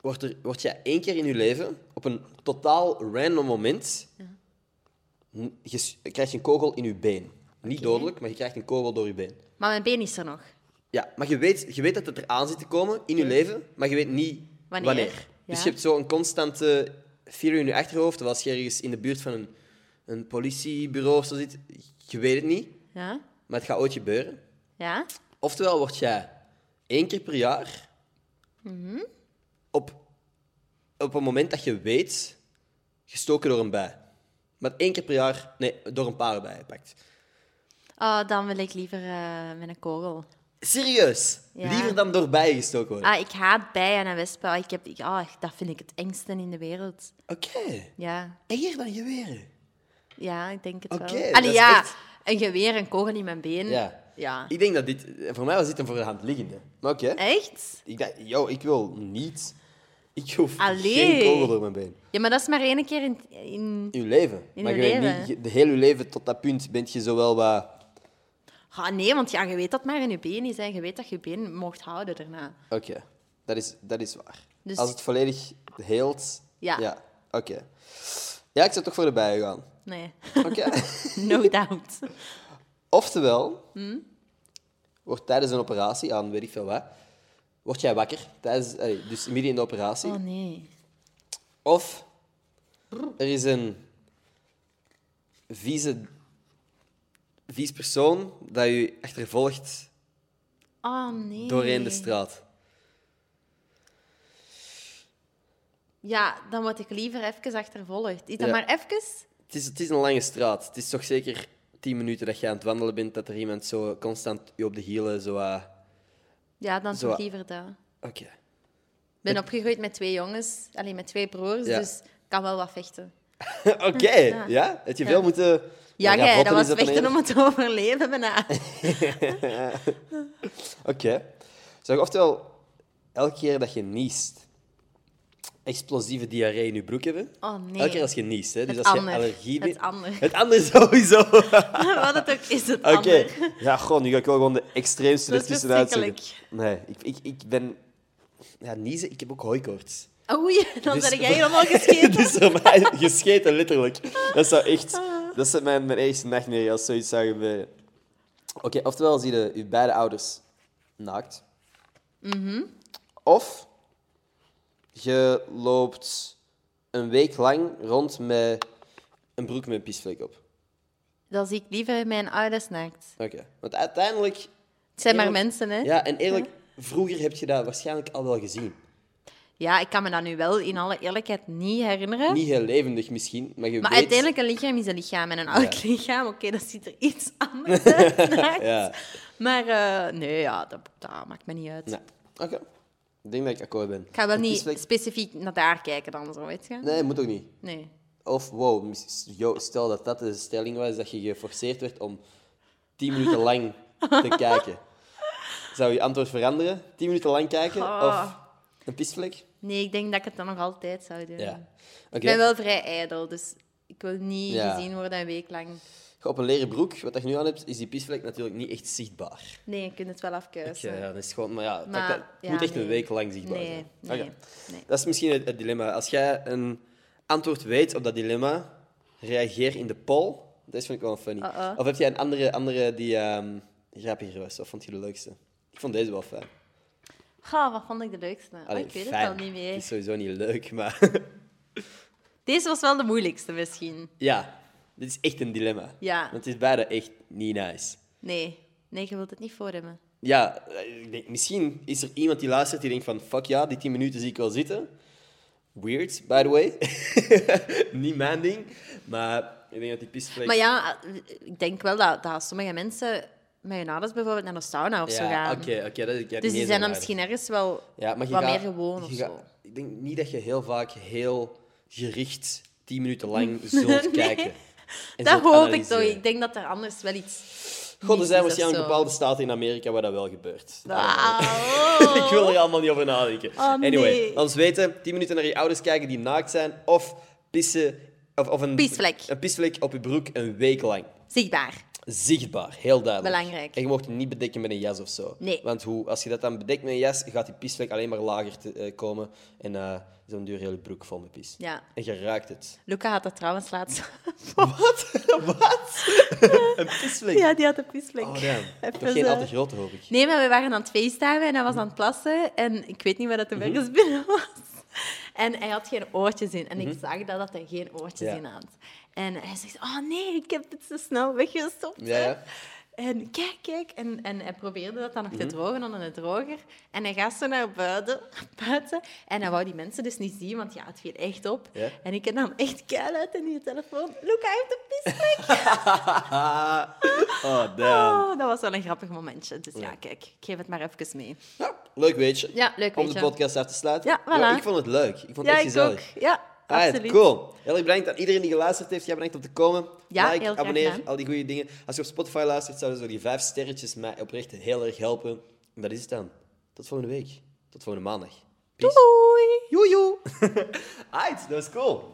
Speaker 1: wordt, er, wordt jij één keer in je leven, op een totaal random moment, je s- krijgt een kogel in je been. Niet dodelijk, maar je krijgt een kogel door je been.
Speaker 2: Maar mijn been is er nog.
Speaker 1: Ja, maar je weet, je weet dat het eraan zit te komen in je leven, maar je weet niet
Speaker 2: Wanneer,
Speaker 1: wanneer.
Speaker 2: ja.
Speaker 1: Dus je hebt zo'n constante fear in je achterhoofd. Terwijl als je ergens in de buurt van een, een politiebureau of zo zit, je weet het niet,
Speaker 2: Ja?
Speaker 1: maar het gaat ooit gebeuren.
Speaker 2: Ja?
Speaker 1: Oftewel word jij één keer per jaar
Speaker 2: Mhm.
Speaker 1: op, op een moment dat je weet gestoken door een bij. Maar één keer per jaar, nee, door een paar bijen pakt.
Speaker 2: Oh, dan wil ik liever eh, met een kogel.
Speaker 1: Serieus?
Speaker 2: Ja.
Speaker 1: Liever dan door bijen gestoken worden.
Speaker 2: Ah, ik haat bijen en wespen. Ik heb, ik, ah, dat vind ik het engste in de wereld.
Speaker 1: Oké,
Speaker 2: Ja,
Speaker 1: enger dan geweren.
Speaker 2: ja ik denk het
Speaker 1: Oké,
Speaker 2: wel.
Speaker 1: dat
Speaker 2: Allee,
Speaker 1: is
Speaker 2: ja,
Speaker 1: echt-
Speaker 2: een geweer, een kogel in mijn been.
Speaker 1: Ja.
Speaker 2: Hm? ja.
Speaker 1: Ik denk dat dit... Voor mij was dit een voor de hand liggende. Maar oké.
Speaker 2: Echt?
Speaker 1: Ik dacht, yo, ik wil niet... Ik hoef
Speaker 2: Allee.
Speaker 1: geen kogel door mijn been.
Speaker 2: Ja, maar dat is maar één keer in... in...
Speaker 1: In je leven.
Speaker 2: In
Speaker 1: maar je
Speaker 2: uw
Speaker 1: weet
Speaker 2: leven.
Speaker 1: niet... je- De hele je leven tot dat punt bent je zowel wat...
Speaker 2: Ah, nee, want ja, je weet dat het maar in je been is. Hè. Je weet dat je je been mocht houden daarna.
Speaker 1: Oké, dat, is, dat is waar.
Speaker 2: Dus-
Speaker 1: Als het volledig heelt...
Speaker 2: Ja.
Speaker 1: Oké. Ja, ik zou toch voor de bijen gaan.
Speaker 2: Nee,
Speaker 1: Oké.
Speaker 2: no doubt.
Speaker 1: Oftewel...
Speaker 2: Hm?
Speaker 1: Wordt tijdens een operatie, aan weet ik veel wat... Word jij wakker, tijdens, allee, dus midden in de operatie.
Speaker 2: Oh nee.
Speaker 1: Of er is een vieze, vies persoon dat je achtervolgt
Speaker 2: Oh nee.
Speaker 1: doorheen de straat.
Speaker 2: Ja, dan word ik liever even achtervolgd. Is dat
Speaker 1: Ja.
Speaker 2: maar even?
Speaker 1: Het is, het is een lange straat. Het is toch zeker tien minuten dat je aan het wandelen bent, dat er iemand zo constant je op de hielen zo... ah,
Speaker 2: Ja, dan
Speaker 1: Zo.
Speaker 2: toch liever dat.
Speaker 1: Oké.
Speaker 2: Ik ben opgegroeid met twee jongens, alleen met twee broers,
Speaker 1: Ja.
Speaker 2: dus ik kan wel wat vechten.
Speaker 1: Oké, ja. Heb je veel moeten...
Speaker 2: Ja,
Speaker 1: gaan
Speaker 2: jij,
Speaker 1: botten,
Speaker 2: dat
Speaker 1: is
Speaker 2: was
Speaker 1: dan
Speaker 2: vechten
Speaker 1: eerder?
Speaker 2: om het te overleven bijna.
Speaker 1: Oké. Zou je oftewel elke keer dat je niest, explosieve diarree in je broek hebben?
Speaker 2: Oh nee.
Speaker 1: Elke keer als je niest, hè? Dus
Speaker 2: Het
Speaker 1: als je
Speaker 2: ander.
Speaker 1: allergie
Speaker 2: Het
Speaker 1: bent-
Speaker 2: ander.
Speaker 1: Het ander sowieso. Oké.
Speaker 2: Wat het ook is, het ander.
Speaker 1: Ja, gewoon, nu ga ik wel gewoon de extreemste
Speaker 2: Dat
Speaker 1: er
Speaker 2: is
Speaker 1: tussenuit
Speaker 2: verschrikkelijk.
Speaker 1: zoeken. Nee, ik, ik, ik ben... Ja, niezen, ik heb ook hooikoorts.
Speaker 2: Oh, Oei, dan
Speaker 1: Dus-
Speaker 2: ben jij helemaal gescheten.
Speaker 1: dus voor mij gescheten, letterlijk. Dat zou echt... Dat is mijn, mijn eerste nachtmerrie als zoiets zou gebeuren. Oké, oftewel zie je je beide ouders naakt. Of je loopt een week lang rond met een broek met een pisvlek op.
Speaker 2: Dan zie ik liever mijn ouders naakt.
Speaker 1: Oké. Want uiteindelijk...
Speaker 2: Het zijn maar
Speaker 1: Eerlijk-
Speaker 2: mensen, hè.
Speaker 1: Ja, en eerlijk, vroeger heb je dat waarschijnlijk al wel gezien.
Speaker 2: Ja, ik kan me dat nu wel in alle eerlijkheid niet herinneren.
Speaker 1: Niet heel levendig misschien, maar je
Speaker 2: maar
Speaker 1: weet...
Speaker 2: uiteindelijk, een lichaam is een lichaam. En een oud lichaam, oké, dat ziet er iets anders uit.
Speaker 1: Ja.
Speaker 2: Maar eh, nee, ja, dat, dat maakt me niet uit.
Speaker 1: Nou, oké. Ik denk dat ik akkoord ben.
Speaker 2: Ik ga wel
Speaker 1: Het
Speaker 2: niet
Speaker 1: is wel-
Speaker 2: specifiek naar daar kijken dan, zo, weet je.
Speaker 1: Nee, moet ook niet.
Speaker 2: Nee.
Speaker 1: Of wow, mis- yo, stel dat dat de stelling was, dat je geforceerd werd om tien minuten lang te kijken. Zou je antwoord veranderen? Tien minuten lang kijken? Of
Speaker 2: Ah.
Speaker 1: een pisvlek?
Speaker 2: Nee, ik denk dat ik het dan nog altijd zou doen.
Speaker 1: Ja. Oké.
Speaker 2: Ik ben wel vrij ijdel, dus ik wil niet
Speaker 1: Ja.
Speaker 2: gezien worden een week lang.
Speaker 1: Op een leren broek, wat dat je nu aan hebt, is die pisvlek natuurlijk niet echt zichtbaar.
Speaker 2: Nee, je kunt het wel
Speaker 1: Ja,
Speaker 2: afkeuzen.
Speaker 1: ja, dat is gewoon, maar ja, het
Speaker 2: Maar,
Speaker 1: pakt- het
Speaker 2: ja,
Speaker 1: moet echt
Speaker 2: nee.
Speaker 1: een week lang zichtbaar
Speaker 2: Nee,
Speaker 1: zijn.
Speaker 2: nee,
Speaker 1: Oké.
Speaker 2: nee.
Speaker 1: Dat is misschien het, het dilemma. Als jij een antwoord weet op dat dilemma, reageer in de poll. Dat is, vind ik wel funny.
Speaker 2: Uh-oh.
Speaker 1: Of heb jij een andere, andere die ehm grappiger was? Of vond je de leukste? Ik vond deze wel fijn.
Speaker 2: Goh, wat vond ik de leukste? Oh,
Speaker 1: Allee,
Speaker 2: ik Oh, weet
Speaker 1: fijn.
Speaker 2: het al niet
Speaker 1: Het
Speaker 2: meer.
Speaker 1: is sowieso niet leuk, maar
Speaker 2: Deze was wel de moeilijkste misschien.
Speaker 1: ja, dit is echt een dilemma.
Speaker 2: Ja.
Speaker 1: Want het is beide echt niet nice.
Speaker 2: Nee, nee, je wilt het niet voorremmen.
Speaker 1: Ja, eh, ik denk, misschien is er iemand die luistert die denkt van... Fuck ja, die 10 minuten zie ik wel zitten. Weird, by the way. Niet mijn ding. Maar ik denk dat die pisvlek...
Speaker 2: Maar ja, ik denk wel dat, dat sommige mensen met hun ouders bijvoorbeeld naar de sauna of zo
Speaker 1: Ja,
Speaker 2: gaan.
Speaker 1: oké, oké, dat ik heb niet
Speaker 2: Dus die
Speaker 1: eens
Speaker 2: zijn dan
Speaker 1: aan
Speaker 2: misschien ergens wel
Speaker 1: gedacht. Ja, maar je
Speaker 2: wat
Speaker 1: gaat-
Speaker 2: meer gewoon
Speaker 1: je
Speaker 2: of
Speaker 1: gaat-
Speaker 2: zo.
Speaker 1: Ik denk niet dat je heel vaak heel gericht 10 minuten lang zult kijken. en
Speaker 2: Dat
Speaker 1: zult
Speaker 2: hoop ik toch.
Speaker 1: analyseren.
Speaker 2: Ik denk dat er anders wel iets.
Speaker 1: God, er
Speaker 2: mis
Speaker 1: zijn
Speaker 2: is of
Speaker 1: waarschijnlijk
Speaker 2: zo.
Speaker 1: bepaalde staten in Amerika waar dat wel gebeurt.
Speaker 2: Ah, oh.
Speaker 1: Ik wil er allemaal niet over nadenken.
Speaker 2: Oh, nee.
Speaker 1: Anyway, laat ons weten. 10 minuten naar je ouders kijken die naakt zijn. Of pissen. Of, of een
Speaker 2: Pisvlek.
Speaker 1: Een pisvlek op je broek een week lang.
Speaker 2: Zichtbaar.
Speaker 1: Zichtbaar, heel duidelijk.
Speaker 2: Belangrijk.
Speaker 1: En je mocht het niet bedekken met een jas of zo.
Speaker 2: Nee.
Speaker 1: Want hoe, als je dat dan bedekt met een jas, gaat die pisvlek alleen maar lager te, eh, komen. En eh zo'n duur hele broek vol met pis.
Speaker 2: Ja.
Speaker 1: En je ruikt het.
Speaker 2: Luca had dat trouwens laatst.
Speaker 1: Wat? Wat? een pisvlek?
Speaker 2: ja, die had een piesplek.
Speaker 1: Oh, damn.
Speaker 2: Even
Speaker 1: Toch geen
Speaker 2: zo.
Speaker 1: al te grote, hoop ik.
Speaker 2: Nee, maar we waren aan het facetimen en hij was aan het plassen. En ik weet niet waar dat de
Speaker 1: Mhm.
Speaker 2: ergens binnen was. En hij had geen oortjes in. En ik zag dat, dat hij geen oortjes
Speaker 1: Mhm. Ja.
Speaker 2: in had. En hij zegt, oh nee, ik heb het zo snel weggestopt.
Speaker 1: Ja, ja.
Speaker 2: En kijk, kijk. En, en hij probeerde dat dan nog
Speaker 1: Mhm.
Speaker 2: te drogen onder de droger. En hij gaat zo naar buiten, buiten. En hij wou die mensen dus niet zien, want ja, het viel echt op.
Speaker 1: Ja.
Speaker 2: En ik heb dan echt keil uit in die telefoon. Luca heeft een pisplek.
Speaker 1: Oh, damn.
Speaker 2: Oh, dat was wel een grappig momentje. Dus ja, kijk, ik geef het maar even mee.
Speaker 1: Ja, leuk weetje.
Speaker 2: Ja, leuk
Speaker 1: Om de
Speaker 2: weetje.
Speaker 1: podcast af te sluiten.
Speaker 2: Ja, voilà.
Speaker 1: Yo, ik vond het leuk. Ik vond het
Speaker 2: Ja,
Speaker 1: echt
Speaker 2: ik
Speaker 1: gezellig.
Speaker 2: ook. Ja,
Speaker 1: Alright,
Speaker 2: absoluut.
Speaker 1: Ah, cool. Heel erg bedankt aan iedereen die geluisterd heeft. Jij bedankt om te komen.
Speaker 2: Ja,
Speaker 1: like,
Speaker 2: heel graag
Speaker 1: abonneer,
Speaker 2: gedaan.
Speaker 1: al die goede dingen. Als je op Spotify luistert, zouden zo die vijf sterretjes mij oprecht heel erg helpen. En dat is het dan. Tot volgende week. Tot volgende maandag. Peace.
Speaker 2: Doei!
Speaker 1: Joejoe. Alright, dat was cool.